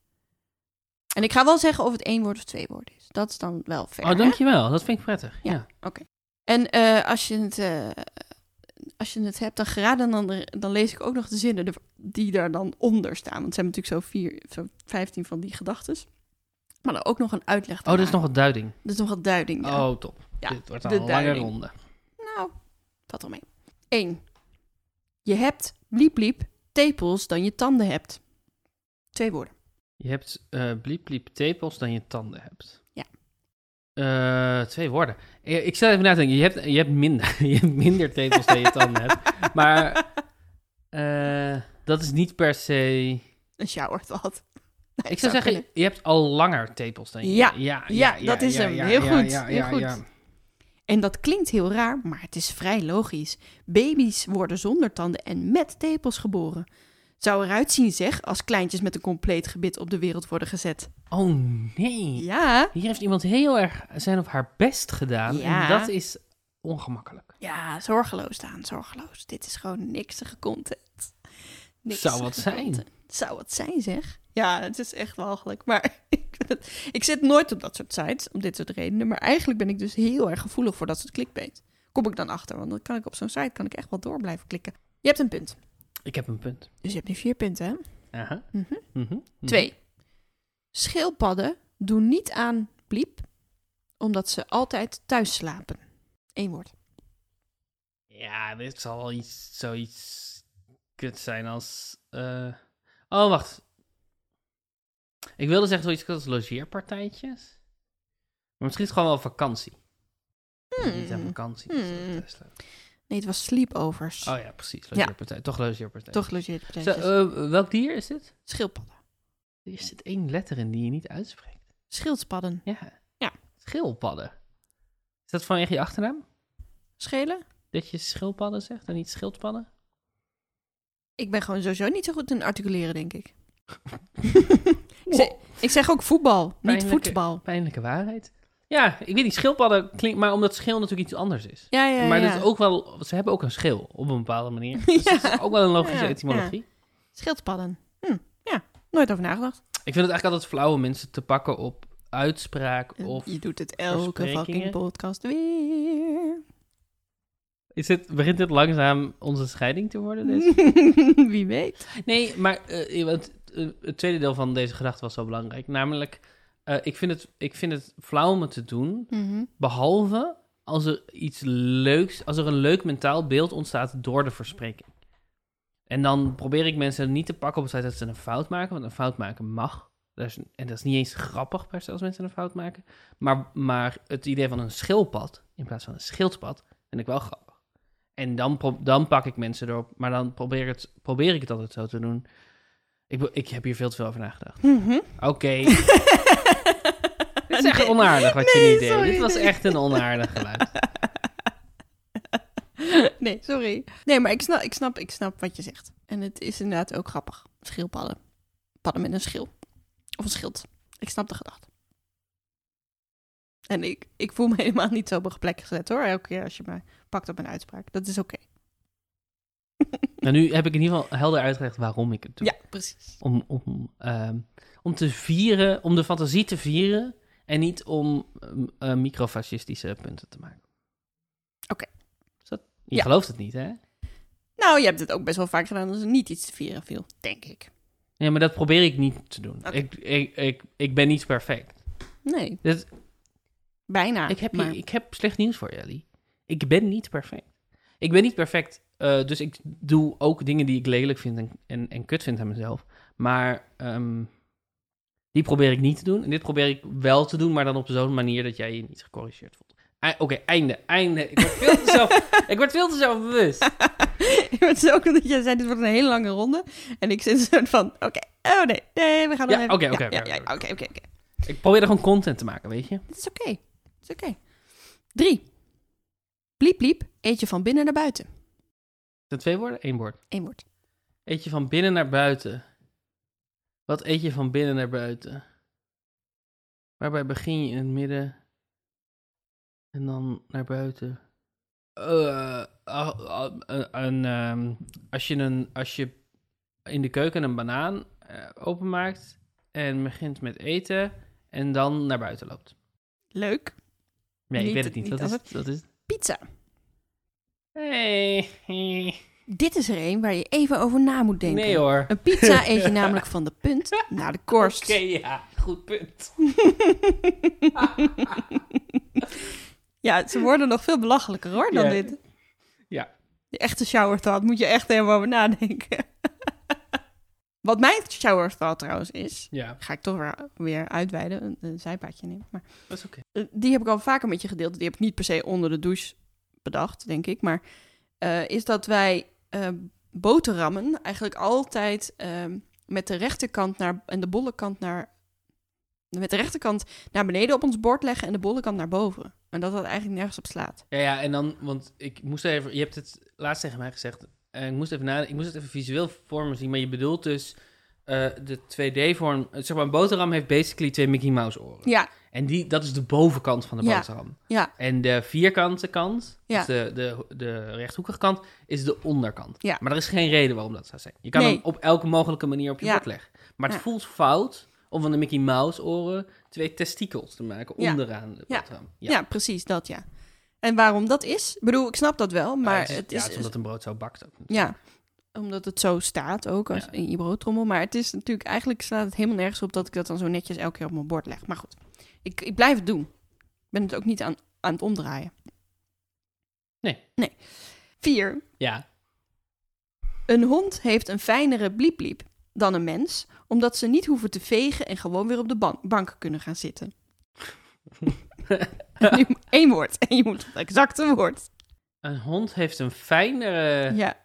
En ik ga wel zeggen of het één woord of twee woorden is. Dat is dan wel fair.
oh,
hè?
dankjewel. Dat vind ik prettig.
Ja.
Ja.
En eh, als, je het, eh, als je het hebt dan geraden, dan, dan lees ik ook nog de zinnen er- die daar dan onder staan. Want ze hebben natuurlijk zo, vier, zo 15 van die gedachten. Maar dan ook nog een uitleg.
Oh, dat is
daarna.
nog wat duiding.
dat is nog wat duiding. ja.
Oh, top.
Ja,
Dit wordt al
de
een lange
duiding.
ronde.
Nou, valt wel mee. 1. Je hebt, bliep bliep, tepels dan je tanden hebt. Twee woorden.
Je hebt eh bliep bliep tepels dan je tanden hebt.
Ja.
Eh, twee woorden. Eh, Ik stel even na te denken. Je hebt, je hebt, minder, je hebt minder tepels dan je tanden hebt. Maar eh, dat is niet per se...
Een shower thought. Nee,
Ik zou zeggen,
kunnen.
je hebt al langer tepels dan je
Ja.
ja,
Ja, dat is hem. Heel goed, heel goed. En dat klinkt heel raar, maar het is vrij logisch. Baby's worden zonder tanden en met tepels geboren. Zou eruit zien, zeg, als kleintjes met een compleet gebit op de wereld worden gezet.
Oh nee.
Ja.
Hier heeft iemand heel erg zijn of haar best gedaan.
Ja.
En dat is ongemakkelijk.
Ja, zorgeloos staan, zorgeloos. Dit is gewoon niksige content.
Zou wat
content.
zijn.
Zou wat zijn, zeg. Ja, het is echt walgelijk. Maar ik, vind het- ik zit nooit op dat soort sites, om dit soort redenen. Maar eigenlijk ben ik dus heel erg gevoelig voor dat soort clickbait. Kom ik dan achter, want dan kan ik op zo'n site kan ik echt wel door blijven klikken. Je hebt een punt.
Ik heb een punt.
Dus je hebt nu vier punten, hè?
Aha.
Mhm.
Mhm. Mhm.
Twee. Schildpadden doen niet aan bliep, omdat ze altijd thuis slapen. Eén woord.
Ja, dit zal wel iets, zoiets kut zijn als... eh, Oh, wacht. Ik wilde zeggen zoiets als logeerpartijtjes. Maar misschien is het gewoon wel vakantie.
Hmm.
Niet aan vakantie. dus dat
Hmm.
is leuk.
Nee, het was sleepovers.
Oh ja, precies. Logeerpartij. Toch logeerpartij.
Toch logeert
Zo, eh, welk dier is dit?
Schildpadden.
Er zit één letter in die je niet uitspreekt.
Schildpadden.
Ja.
Ja.
Schildpadden. Is dat vanwege je achternaam?
Schelen?
Dat je schildpadden zegt en niet schildpadden?
Ik ben gewoon sowieso niet zo goed in articuleren, denk ik. ik, zeg, ik zeg ook voetbal, niet
Pijnlijke-
voetbal.
Pijnlijke waarheid. Ja, ik weet niet, schildpadden klinkt... Maar omdat schil natuurlijk iets anders is.
Ja, ja,
maar
ja.
dat is ook wel... Ze hebben ook een schil, op een bepaalde manier. Dus dat is ook wel een logische
Ja,
etymologie.
Schildpadden. Hm, ja, nooit over nagedacht.
Ik vind het eigenlijk altijd flauw om mensen te pakken op uitspraak of...
je doet het elke
versprekingen.
fucking podcast weer.
Is het, begint dit langzaam onze scheiding te worden? Deze?
Wie weet.
Nee, maar eh, want, eh, het tweede deel van deze gedachte was zo belangrijk. Namelijk, eh, ik, vind het, ik vind het flauw om het te doen,
Mhm.
behalve als er iets leuks, als er een leuk mentaal beeld ontstaat door de verspreking. En dan probeer ik mensen niet te pakken op het feit dat ze een fout maken, want een fout maken mag. Dat is, en dat is niet eens grappig per se als mensen een fout maken. Maar, maar het idee van een schildpad in plaats van een schildpad vind ik wel grappig. En dan, pro- dan pak ik mensen erop, maar dan probeer, ik het, probeer ik het altijd zo te doen. Ik, be- ik heb hier veel te veel over nagedacht.
Mhm.
Oké, dit is echt onaardig wat je
Nee,
niet deed.
sorry,
dit was
nee.
echt een onaardig geluid.
Nee, sorry. Nee, maar ik snap, ik, snap, ik snap wat je zegt. En het is inderdaad ook grappig. Schildpadden. Padden met een schil. Of een schild. Ik snap de gedachte. En ik, ik voel me helemaal niet zo op een plek gezet hoor. Elke keer als je me pakt op mijn uitspraak. Dat is oké.
Nou, nu heb ik in ieder geval helder uitgelegd waarom ik het doe.
Ja, precies.
Om, om, ehm, om te vieren, om de fantasie te vieren en niet om ehm, eh, microfascistische punten te maken.
Oké.
Is dat- Je
Ja.
gelooft het niet, hè?
Nou, je hebt het ook best wel vaak gedaan als er niet iets te vieren viel, denk ik.
Ja, maar dat probeer ik niet te doen.
Oké.
Ik, ik, ik, ik ben niet perfect.
Nee,
Dus
bijna.
ik, heb je-
maar-
ik heb slecht nieuws voor jullie. Ik ben niet perfect. Ik ben niet perfect, eh, dus ik doe ook dingen die ik lelijk vind en, en, en kut vind aan mezelf. Maar ehm, die probeer ik niet te doen. En dit probeer ik wel te doen, maar dan op zo'n manier dat jij je niet gecorrigeerd voelt. E- Oké, einde, einde. Ik word veel te, zelf, ik word veel te zelfbewust.
Het is ook omdat jij zei, dit wordt een hele lange ronde. En ik zit zo van, oké, oh nee, nee, we gaan nog
Ja,
even.
oké, oké,
ja,
oké,
ja,
oké,
ja,
oké.
oké, oké, oké.
Ik probeer er gewoon content te maken, weet je?
Het is oké, het is oké. Drie. Bliep, bliep, eet je van binnen naar buiten.
Dat twee woorden, één woord.
Eén woord.
Eet je van binnen naar buiten? Wat eet je van binnen naar buiten? Waarbij begin je in het midden en dan naar buiten? Eh, ah, ah, eh, een, ehm, als, je een, als je in de keuken een banaan eh, openmaakt en begint met eten en dan naar buiten loopt.
Leuk.
Nee, ik
Niet-
weet het niet.
niet
Dat
als
is, dat is...
Pizza.
Hey.
Dit is er één waar je even over na moet denken.
Nee hoor.
Een pizza eet je namelijk van de punt naar de korst.
Oké, ja. Goed punt.
Ja, ze worden nog veel belachelijker hoor dan
Ja.
dit.
Ja.
De echte shower thought moet je echt helemaal over nadenken. Wat mijn shower thought trouwens is,
Ja,
ga ik toch weer, weer uitweiden, een, een zijpaadje nemen. Maar,
dat is oké.
eh, die heb ik al vaker met je gedeeld. Die heb ik niet per se onder de douche bedacht, denk ik. Maar eh, is dat wij eh, boterhammen eigenlijk altijd ehm, met de rechterkant naar, en de bolle kant naar... Met de rechterkant naar beneden op ons bord leggen en de bolle kant naar boven. En dat dat eigenlijk nergens op slaat.
Ja, ja, en dan, want ik moest even, je hebt het laatst tegen mij gezegd, en ik moest even na, ik moest het even visueel voor me zien, maar je bedoelt dus eh, de 2D-vorm, zeg maar, een boterham heeft basically twee Mickey Mouse oren.
Ja,
En die, dat is de bovenkant van de
Ja.
boterham.
ja,
En de vierkante kant,
Ja.
dus de, de, de rechthoekige kant, is de onderkant.
Ja.
Maar er is geen reden waarom dat zou zijn. Je kan
Nee.
hem op elke mogelijke manier op je
Ja.
bord leggen. Maar het
Ja.
voelt fout om van de Mickey Mouse oren twee testikels te maken
Ja.
onderaan de
Ja.
boterham.
ja, precies dat ja. En waarom dat is? Ik bedoel, ik snap dat wel, maar
het is,
het
ja,
is...
het is omdat een brood zo bakt ook.
Ja, omdat het zo staat ook als
Ja.
in je broodtrommel. Maar het is natuurlijk, eigenlijk slaat het helemaal nergens op dat ik dat dan zo netjes elke keer op mijn bord leg. Maar goed, ik, ik blijf het doen. Ik ben het ook niet aan, aan het omdraaien.
Nee.
Nee. Vier.
Ja.
Een hond heeft een fijnere bliep-bliep dan een mens, omdat ze niet hoeven te vegen en gewoon weer op de ban- bank kunnen gaan zitten. En nu één woord. En je moet het exacte woord.
Een hond heeft een fijnere...
Ja.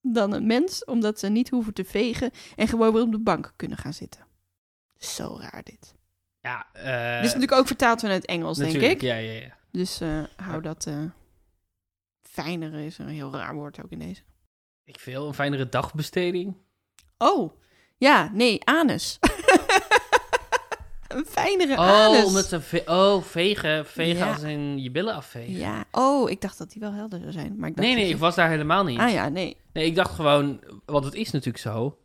Dan een mens, omdat ze niet hoeven te vegen en gewoon weer op de bank kunnen gaan zitten. Zo raar dit.
Ja, eh
dit is natuurlijk ook vertaald vanuit Engels, denk
natuurlijk,
ik.
Ja, ja, ja.
Dus eh, hou dat... eh, fijnere is een heel raar woord ook in deze.
Ik veel, een fijnere dagbesteding.
Oh, ja, nee, anus. een fijnere anus.
Oh, omdat ze ve- oh, vegen, vegen
Ja.
als in je billen afvegen.
Ja, oh, ik dacht dat die wel helder zou zijn. Maar ik dacht
Nee, nee, ik
dat
was daar helemaal
je-
niet.
Ah ja, nee.
Nee, ik dacht gewoon, want het is natuurlijk zo.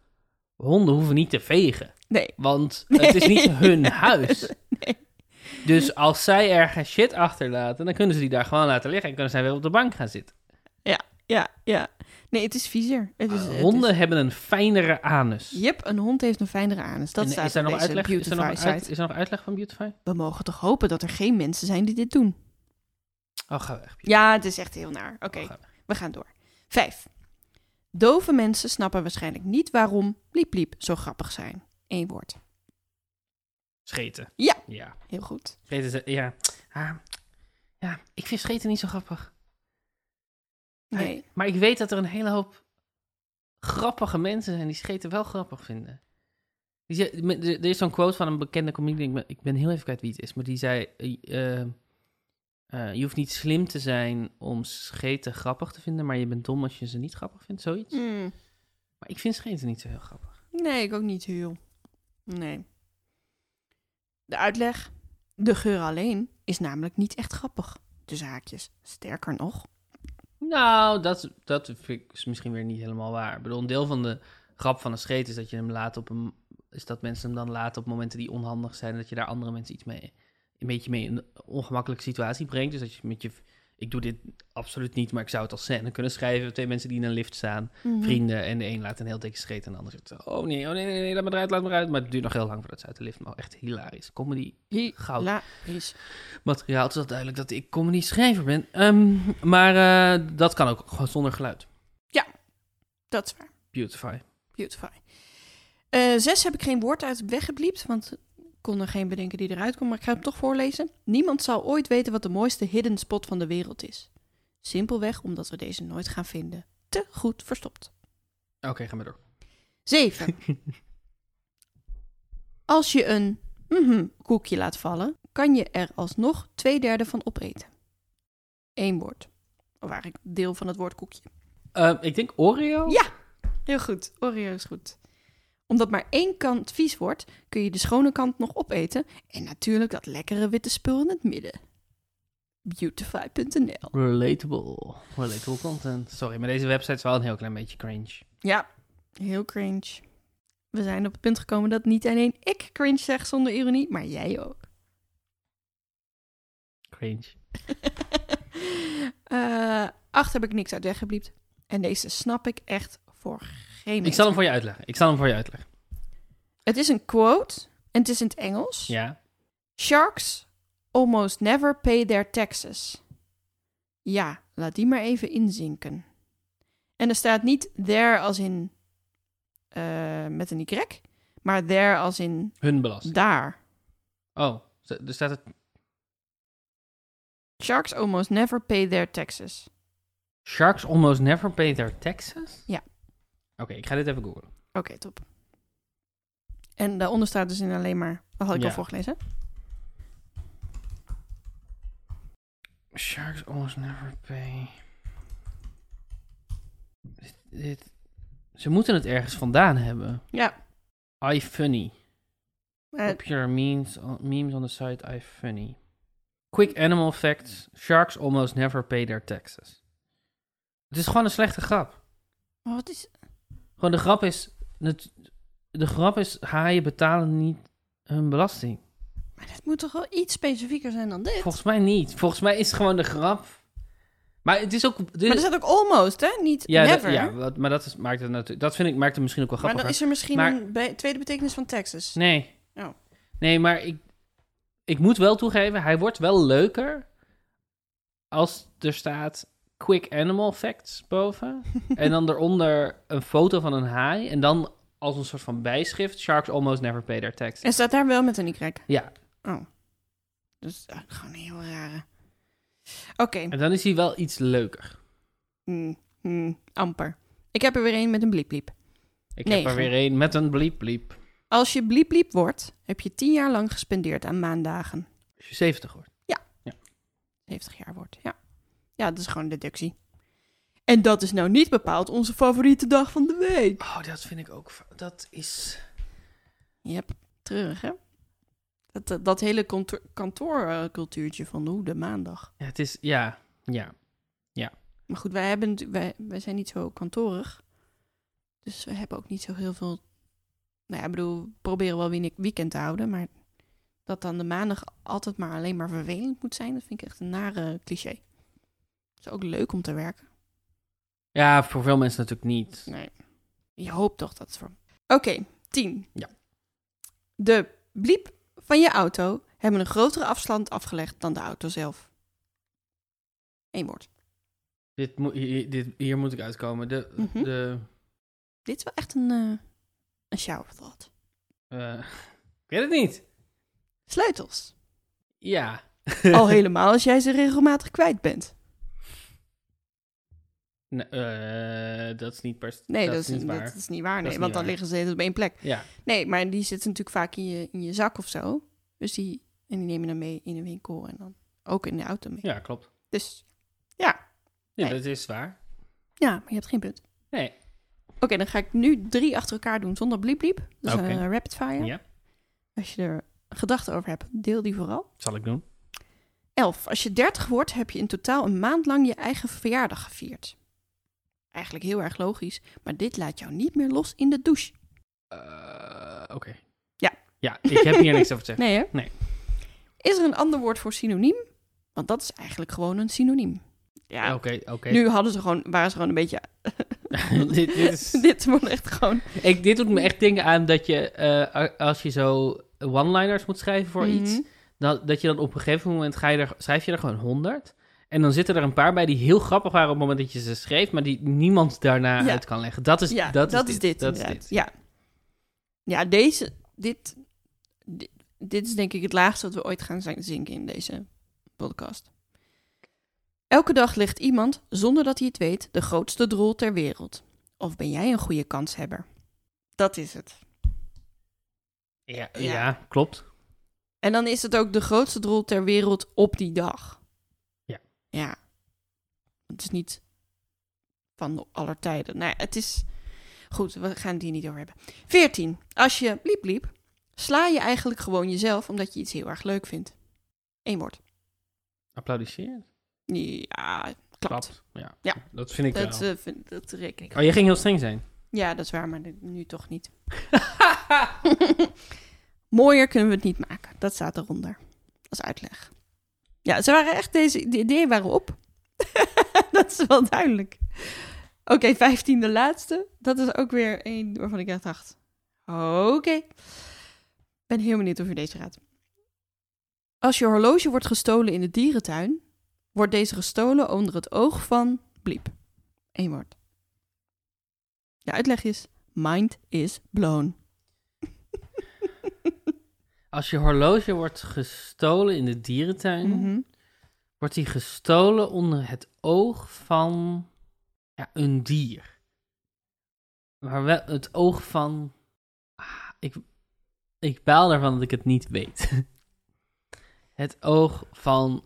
Honden hoeven niet te vegen,
Nee,
want het is niet
Nee.
hun huis.
Nee.
Dus als zij ergens shit achterlaten, dan kunnen ze die daar gewoon laten liggen en kunnen zij weer op de bank gaan zitten.
ja, ja. Nee, het is viezer. Het is, Dus het is-
Honden hebben een fijnere anus.
Jep, een hond heeft een fijnere anus. Dat
En
staat
is daar
op
nog
deze
uitleg? Is er nog,
Beautify
een uit-
site.
is er nog uitleg van Beautify?
We mogen toch hopen dat er geen mensen zijn die dit doen.
Oh, ga weg. Beautify.
Ja, het is echt heel naar. Oké,
Oh, ga weg.
we gaan door. Vijf. Dove mensen snappen waarschijnlijk niet waarom liep liep zo grappig zijn. Eén woord.
Scheten.
Ja.
Ja.
Heel goed.
Scheten ze, ja. Ah, ja, ik vind scheten niet zo grappig.
Nee.
Hey, Maar ik weet dat er een hele hoop grappige mensen zijn die scheten wel grappig vinden. Die ze- me- de- er is zo'n quote van een bekende comedian, ik ben, ik ben heel even kwijt wie het is, maar die zei: eh, eh, eh, Je hoeft niet slim te zijn om scheten grappig te vinden, maar je bent dom als je ze niet grappig vindt, zoiets.
Mm.
Maar ik vind scheten niet zo heel grappig.
Nee, ik ook niet heel. Nee. De uitleg. De geur alleen is namelijk niet echt grappig. De zaakjes. Sterker nog.
Nou, dat, dat vind ik is misschien weer niet helemaal waar. Ik bedoel, een deel van de grap van een scheet is dat je hem laat op een. Is dat mensen hem dan laten op momenten die onhandig zijn. Dat je daar andere mensen iets mee. Een beetje mee in een ongemakkelijke situatie brengt. Dus dat je met je. Ik doe dit absoluut niet, maar ik zou het als scène kunnen schrijven. Twee mensen die in een lift staan,
Mhm.
vrienden. En de een laat een heel dikke scheet. En de ander zegt: Oh nee, oh nee, nee, nee, laat me eruit, laat me eruit. Maar het duurt nog heel lang voordat ze uit de lift. Maar echt hilarisch. Comedy goud
La is.
materiaal. Het is wel duidelijk dat ik comedy schrijver ben. Ehm, maar eh, dat kan ook gewoon zonder geluid.
Dat is waar.
Beautify.
Beautify. Eh, zes heb ik geen woord uit weggebliept, want ik kon er geen bedenken die eruit kon, maar ik ga hem toch voorlezen. Niemand zal ooit weten wat de mooiste hidden spot van de wereld is. Simpelweg omdat we deze nooit gaan vinden. Te goed verstopt.
Oké, ga maar door.
7. Als je een mhm koekje laat vallen, kan je er alsnog twee derde van opeten. Eén woord. Of eigenlijk deel van het woord koekje.
Ehm, ik denk Oreo.
Ja. Heel goed. Oreo is goed. Omdat maar één kant vies wordt, kun je de schone kant nog opeten. En natuurlijk dat lekkere witte spul in het midden. Beautify.nl
Relatable. Relatable content. Sorry, maar deze website is wel een heel klein beetje cringe.
Ja, heel cringe. We zijn op het punt gekomen dat niet alleen ik cringe zeg zonder ironie, maar jij ook.
Cringe.
Eh acht heb ik niks uit weggebliept. En deze snap ik echt voor geen
Ik
meter.
zal hem voor je uitleggen. Ik zal hem voor je uitleggen.
Het is een quote en het is in het Engels.
Ja.
Sharks almost never pay their taxes. Ja, laat die maar even inzinken. En er staat niet there als in eh, met een Y, maar there als in
Hun belasting.
daar.
Oh, z- er staat het.
Sharks almost never pay their taxes.
Sharks almost never pay their taxes?
Ja.
Oké, ik ga dit even googlen.
Oké, top. En daaronder staat dus in alleen maar, dat had ik
Ja.
al voorgelezen.
Sharks almost never pay. Dit, dit- Ze moeten het ergens vandaan hebben.
Ja.
iFunny.
Eh,
Popular memes on, memes on the site iFunny. Quick animal facts. Sharks almost never pay their taxes. Het is gewoon een slechte grap.
maar wat is...
Gewoon de grap is... het- de grap is haaien betalen niet hun belasting.
Maar dat moet toch wel iets specifieker zijn dan dit?
Volgens mij niet. Volgens mij is het gewoon de grap. Maar het is ook... dit-
Maar er staat ook almost, hè? Niet
ja, dat-
never.
ja, wat- maar dat is, maakt het natuurlijk... Dat vind ik, maakt het misschien ook wel
maar
grappig.
dan is er misschien
Maar-
een be- tweede betekenis van Texas.
Nee.
Oh.
Nee, maar ik, ik moet wel toegeven, hij wordt wel leuker als er staat quick animal facts boven. en dan eronder een foto van een haai. En dan als een soort van bijschrift, sharks almost never pay their taxes.
En staat daar wel met een Y?
Ja.
Oh. Dus eh, gewoon een heel rare. Oké.
En dan is hij wel iets leuker.
Hm, hm, amper. Ik heb er weer een met een bliep bliep.
Ik heb
Negen.
er weer een met een bliep bliep.
Als je bliep bliep wordt, heb je tien jaar lang gespendeerd aan maandagen.
Als je 70 wordt.
70 jaar wordt, ja. Ja, dat is gewoon een deductie. En dat is nou niet bepaald onze favoriete dag van de week.
Oh, dat vind ik ook... fa- Dat is...
Yep, treurig hè? Dat, eh, dat, dat hele kanto- kantoorcultuurtje van hoe de maandag.
ja, Het is... Ja, ja.
Maar goed, wij, hebben, natu- wij, wij zijn niet zo kantorig. Dus we hebben ook niet zo heel veel... Nou ja, ik bedoel, we proberen wel weer een weekend te houden. Maar dat dan de maandag altijd maar alleen maar vervelend moet zijn... dat vind ik echt een nare cliché. Het is ook leuk om te werken.
Ja, voor veel mensen natuurlijk niet.
Nee. Je hoopt toch dat het voor. Oké, 10.
Ja.
De bliep van je auto hebben een grotere afstand afgelegd dan de auto zelf. Eén woord.
Dit moet, hier, dit, hier moet ik uitkomen. De,
Mhm.
de,
Dit is wel echt een, eh een shower thought.
eh, ik weet het niet.
Sleutels.
Ja.
Al helemaal als jij ze regelmatig kwijt bent.
Nee, eh, dat is niet per
Nee, dat,
niet
is,
waar.
dat is niet waar.
Dat
Nee,
is
want dan
niet waar.
liggen ze de hele tijd op één plek.
Ja.
Nee, maar die zitten natuurlijk vaak in je, in je zak of zo. Dus die, en die neem je dan mee in een winkel en dan ook in de auto mee.
ja, klopt.
Dus
Nee,
Nee.
dat is waar.
ja, maar je hebt geen punt.
Nee.
Oké, dan ga ik nu drie achter elkaar doen zonder bliep bliep. Dat is
Oké.
een rapid fire.
Ja.
Als je er gedachten over hebt, deel die vooral.
Zal ik doen.
Elf. Als je dertig wordt, heb je in totaal een maand lang je eigen verjaardag gevierd. Eigenlijk heel erg logisch, maar dit laat jou niet meer los in de douche.
Eh, Oké.
Ja.
Ja, ik heb hier niks over te zeggen.
Nee hè?
Nee.
Is er een ander woord voor synoniem? Want dat is eigenlijk gewoon een synoniem. Ja,
Oké, oké.
nu hadden ze gewoon, waren ze gewoon een beetje...
dit, dit is,
dit wordt echt gewoon...
ik, dit doet me echt denken aan dat je, eh, a- als je zo one-liners moet schrijven voor iets,
Mhm.
dat, dat je dan op een gegeven moment ga je er, schrijf je er gewoon 100. En dan zitten er een paar bij die heel grappig waren op het moment dat je ze schreef, maar die niemand daarna
Ja.
uit kan leggen. Dat is,
ja,
dat is, dit. Dat is
inderdaad.
dit.
Ja. ja, deze, dit, dit, dit is denk ik het laagste dat we ooit gaan zijn- zinken in deze podcast. Elke dag ligt iemand, zonder dat hij het weet, de grootste drol ter wereld. Of ben jij een goede kanshebber? Dat is het.
Ja,
Ja.
ja, klopt.
En dan is het ook de grootste drol ter wereld op die dag.
Ja.
Ja. Het is niet van de aller tijden. Nou, ja, het is... Goed, we gaan het hier niet over hebben. 14. Als je liep liep, sla je eigenlijk gewoon jezelf omdat je iets heel erg leuk vindt. Eén woord.
Applaudisseren.
Ja, klopt.
Klopt. Ja.
Ja.
dat vind ik
Dat,
wel.
eh, vind- dat reken ik.
Oh, je ging heel streng zijn.
Ja, dat is waar, maar nu toch niet. Mooier kunnen we het niet maken. Dat staat eronder. Als uitleg. Ja, ze waren echt deze de ideeën waren op. dat is wel duidelijk. Oké, 15 de laatste. Dat is ook weer één waarvan ik echt dacht. Oké. Ben heel benieuwd of je deze raadt. Als je horloge wordt gestolen in de dierentuin, wordt deze gestolen onder het oog van bliep. Eén woord. De uitleg is: mind is blown.
Als je horloge wordt gestolen in de dierentuin,
Mhm.
wordt die gestolen onder het oog van ja, een dier. Maar wel het oog van. Ah, ik, ik baal ervan dat ik het niet weet. het oog van.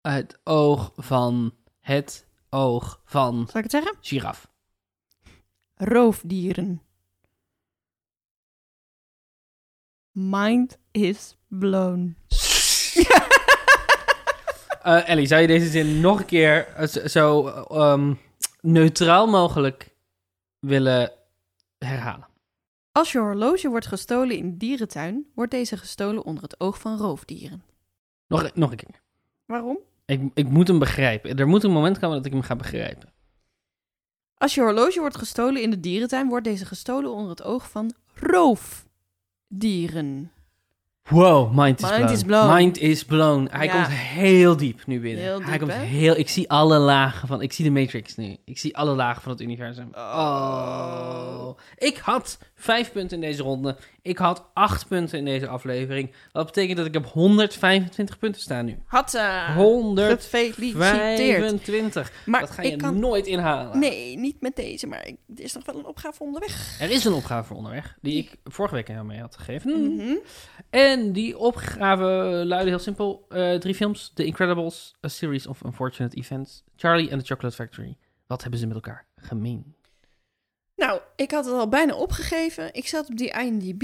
Het oog van. Het oog van.
Zal ik het zeggen?
Giraf.
Roofdieren. Mind is blown.
Eh, Ellie, zou je deze zin nog een keer eh, zo- zo eh, ehm, neutraal mogelijk willen herhalen?
Als je horloge wordt gestolen in de dierentuin, wordt deze gestolen onder het oog van roofdieren.
Nog, nog een keer.
Waarom?
Ik, ik moet hem begrijpen. Er moet een moment komen dat ik hem ga begrijpen.
Als je horloge wordt gestolen in de dierentuin, wordt deze gestolen onder het oog van roofdieren.
Wow, mind is,
Mind
blown.
is blown.
Mind is blown. Hij
Ja.
komt heel diep nu binnen.
Heel
Hij
diep,
komt
hè?
heel... Ik zie alle lagen van... Ik zie de Matrix nu. Ik zie alle lagen van het universum.
Oh.
Oh. Ik had vijf punten in deze ronde. Ik had acht punten in deze aflevering. Dat betekent dat ik op 125 punten sta nu.
Hatta!
125.
Ah, Gefeliciteerd. Maar
dat ga je
ik kan...
nooit inhalen.
Nee, niet met deze, maar ik- er is nog wel een opgave onderweg.
Er is een opgave voor onderweg, die ik vorige week aan jou mee had gegeven.
Mhm.
En die opgave luidde heel simpel. eh, drie films. The Incredibles, A Series of Unfortunate Events, Charlie and the Chocolate Factory. Wat hebben ze met elkaar gemeen?
Nou, ik had het al bijna opgegeven. Ik zat op die IMDb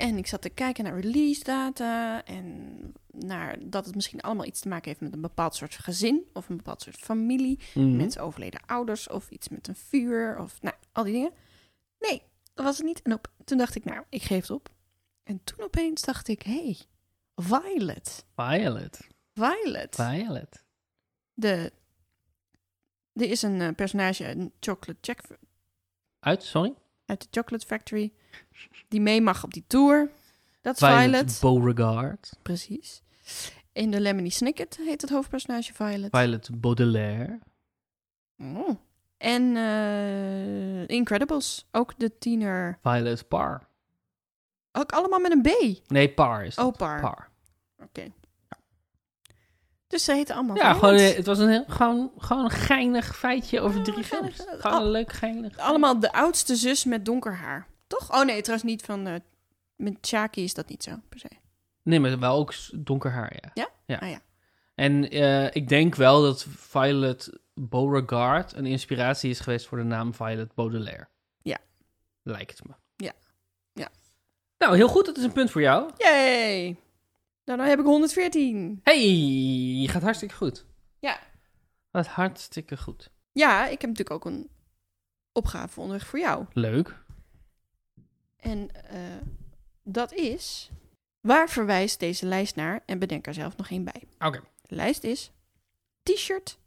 en ik zat te kijken naar release data en naar dat het misschien allemaal iets te maken heeft met een bepaald soort gezin of een bepaald soort familie.
Mhm.
Mensen overleden ouders of iets met een vuur of nou, al die dingen. Nee, dat was het niet. En op, toen dacht ik, nou, ik geef het op. En toen opeens dacht ik, hé, hey, Violet.
Violet.
Violet.
Violet.
de, er is een eh, personage een chocolate check,
Uit, sorry.
uit de Chocolate Factory die mee mag op die tour. Dat is Violet.
Violet, Beauregard.
Precies. In de Lemony Snicket heet het hoofdpersonage Violet.
Violet Baudelaire.
Oh. En eh, Incredibles, ook de tiener
Violet Parr.
Ook allemaal met een B.
Nee, Parr is dat.
Oh, Par.
Parr.
Dus ze heten allemaal
Ja,
Violet.
gewoon, eh, het was een heel, gewoon, gewoon een geinig feitje over
Ja,
drie
geinig.
films. Gewoon een leuk geinig.
Oh. Allemaal de oudste zus met donker haar. Toch? Oh nee, trouwens niet van... eh, met Shaki is dat niet zo, per se.
Nee, maar wel ook s- donker haar, ja.
Ja?
Ja.
Ah, ja.
En eh, ik denk wel dat Violet Beauregard een inspiratie is geweest voor de naam Violet Baudelaire.
Ja.
Lijkt het me.
Ja. Ja.
Nou, heel goed. Dat is een punt voor jou.
Yay! Nou, dan heb ik 114.
Hey, je gaat hartstikke goed.
Ja.
Gaat hartstikke goed.
Ja, ik heb natuurlijk ook een opgave onderweg voor jou.
Leuk.
En eh, dat is... Waar verwijst deze lijst naar? En bedenk er zelf nog één bij.
Oké.
De lijst is... T-shirt,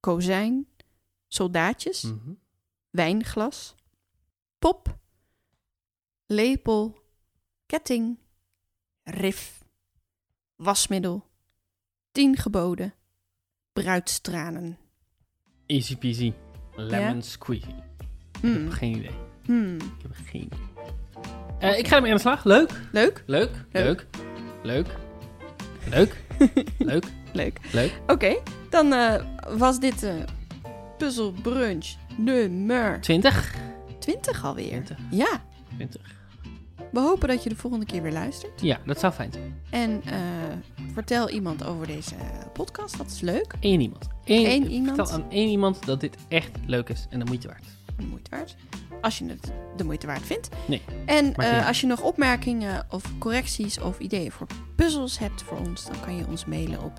kozijn, soldaatjes...
Mhm.
wijnglas, pop, lepel, ketting, rif, wasmiddel, tien geboden, bruidstranen.
Easy peasy. Lemon squeezy. Ik
Hmm,
heb geen idee.
hmm.
Ik heb geen idee. Eh, ik ga ermee aan de slag. Leuk.
Leuk,
Leuk. Leuk.
Leuk.
Leuk. Leuk. Leuk.
leuk.
Leuk.
Oké, dan eh, was dit eh puzzelbrunch nummer
20.
20 alweer.
20.
Ja,
20.
we hopen dat je de volgende keer weer luistert.
Ja, dat zou fijn zijn.
En eh, vertel iemand over deze podcast, dat is leuk.
Eén iemand. Eén,
Eén iemand.
Vertel aan één iemand dat dit echt leuk is en de moeite waard.
de moeite waard. Als je het de moeite waard vindt.
Nee,
En
maakt
eh,
niet uit.
als je nog opmerkingen of correcties of ideeën voor puzzels hebt voor ons, dan kan je ons mailen op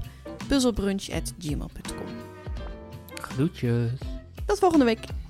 puzzelbrunch.gmail.com.
Groetjes.
Tot volgende week.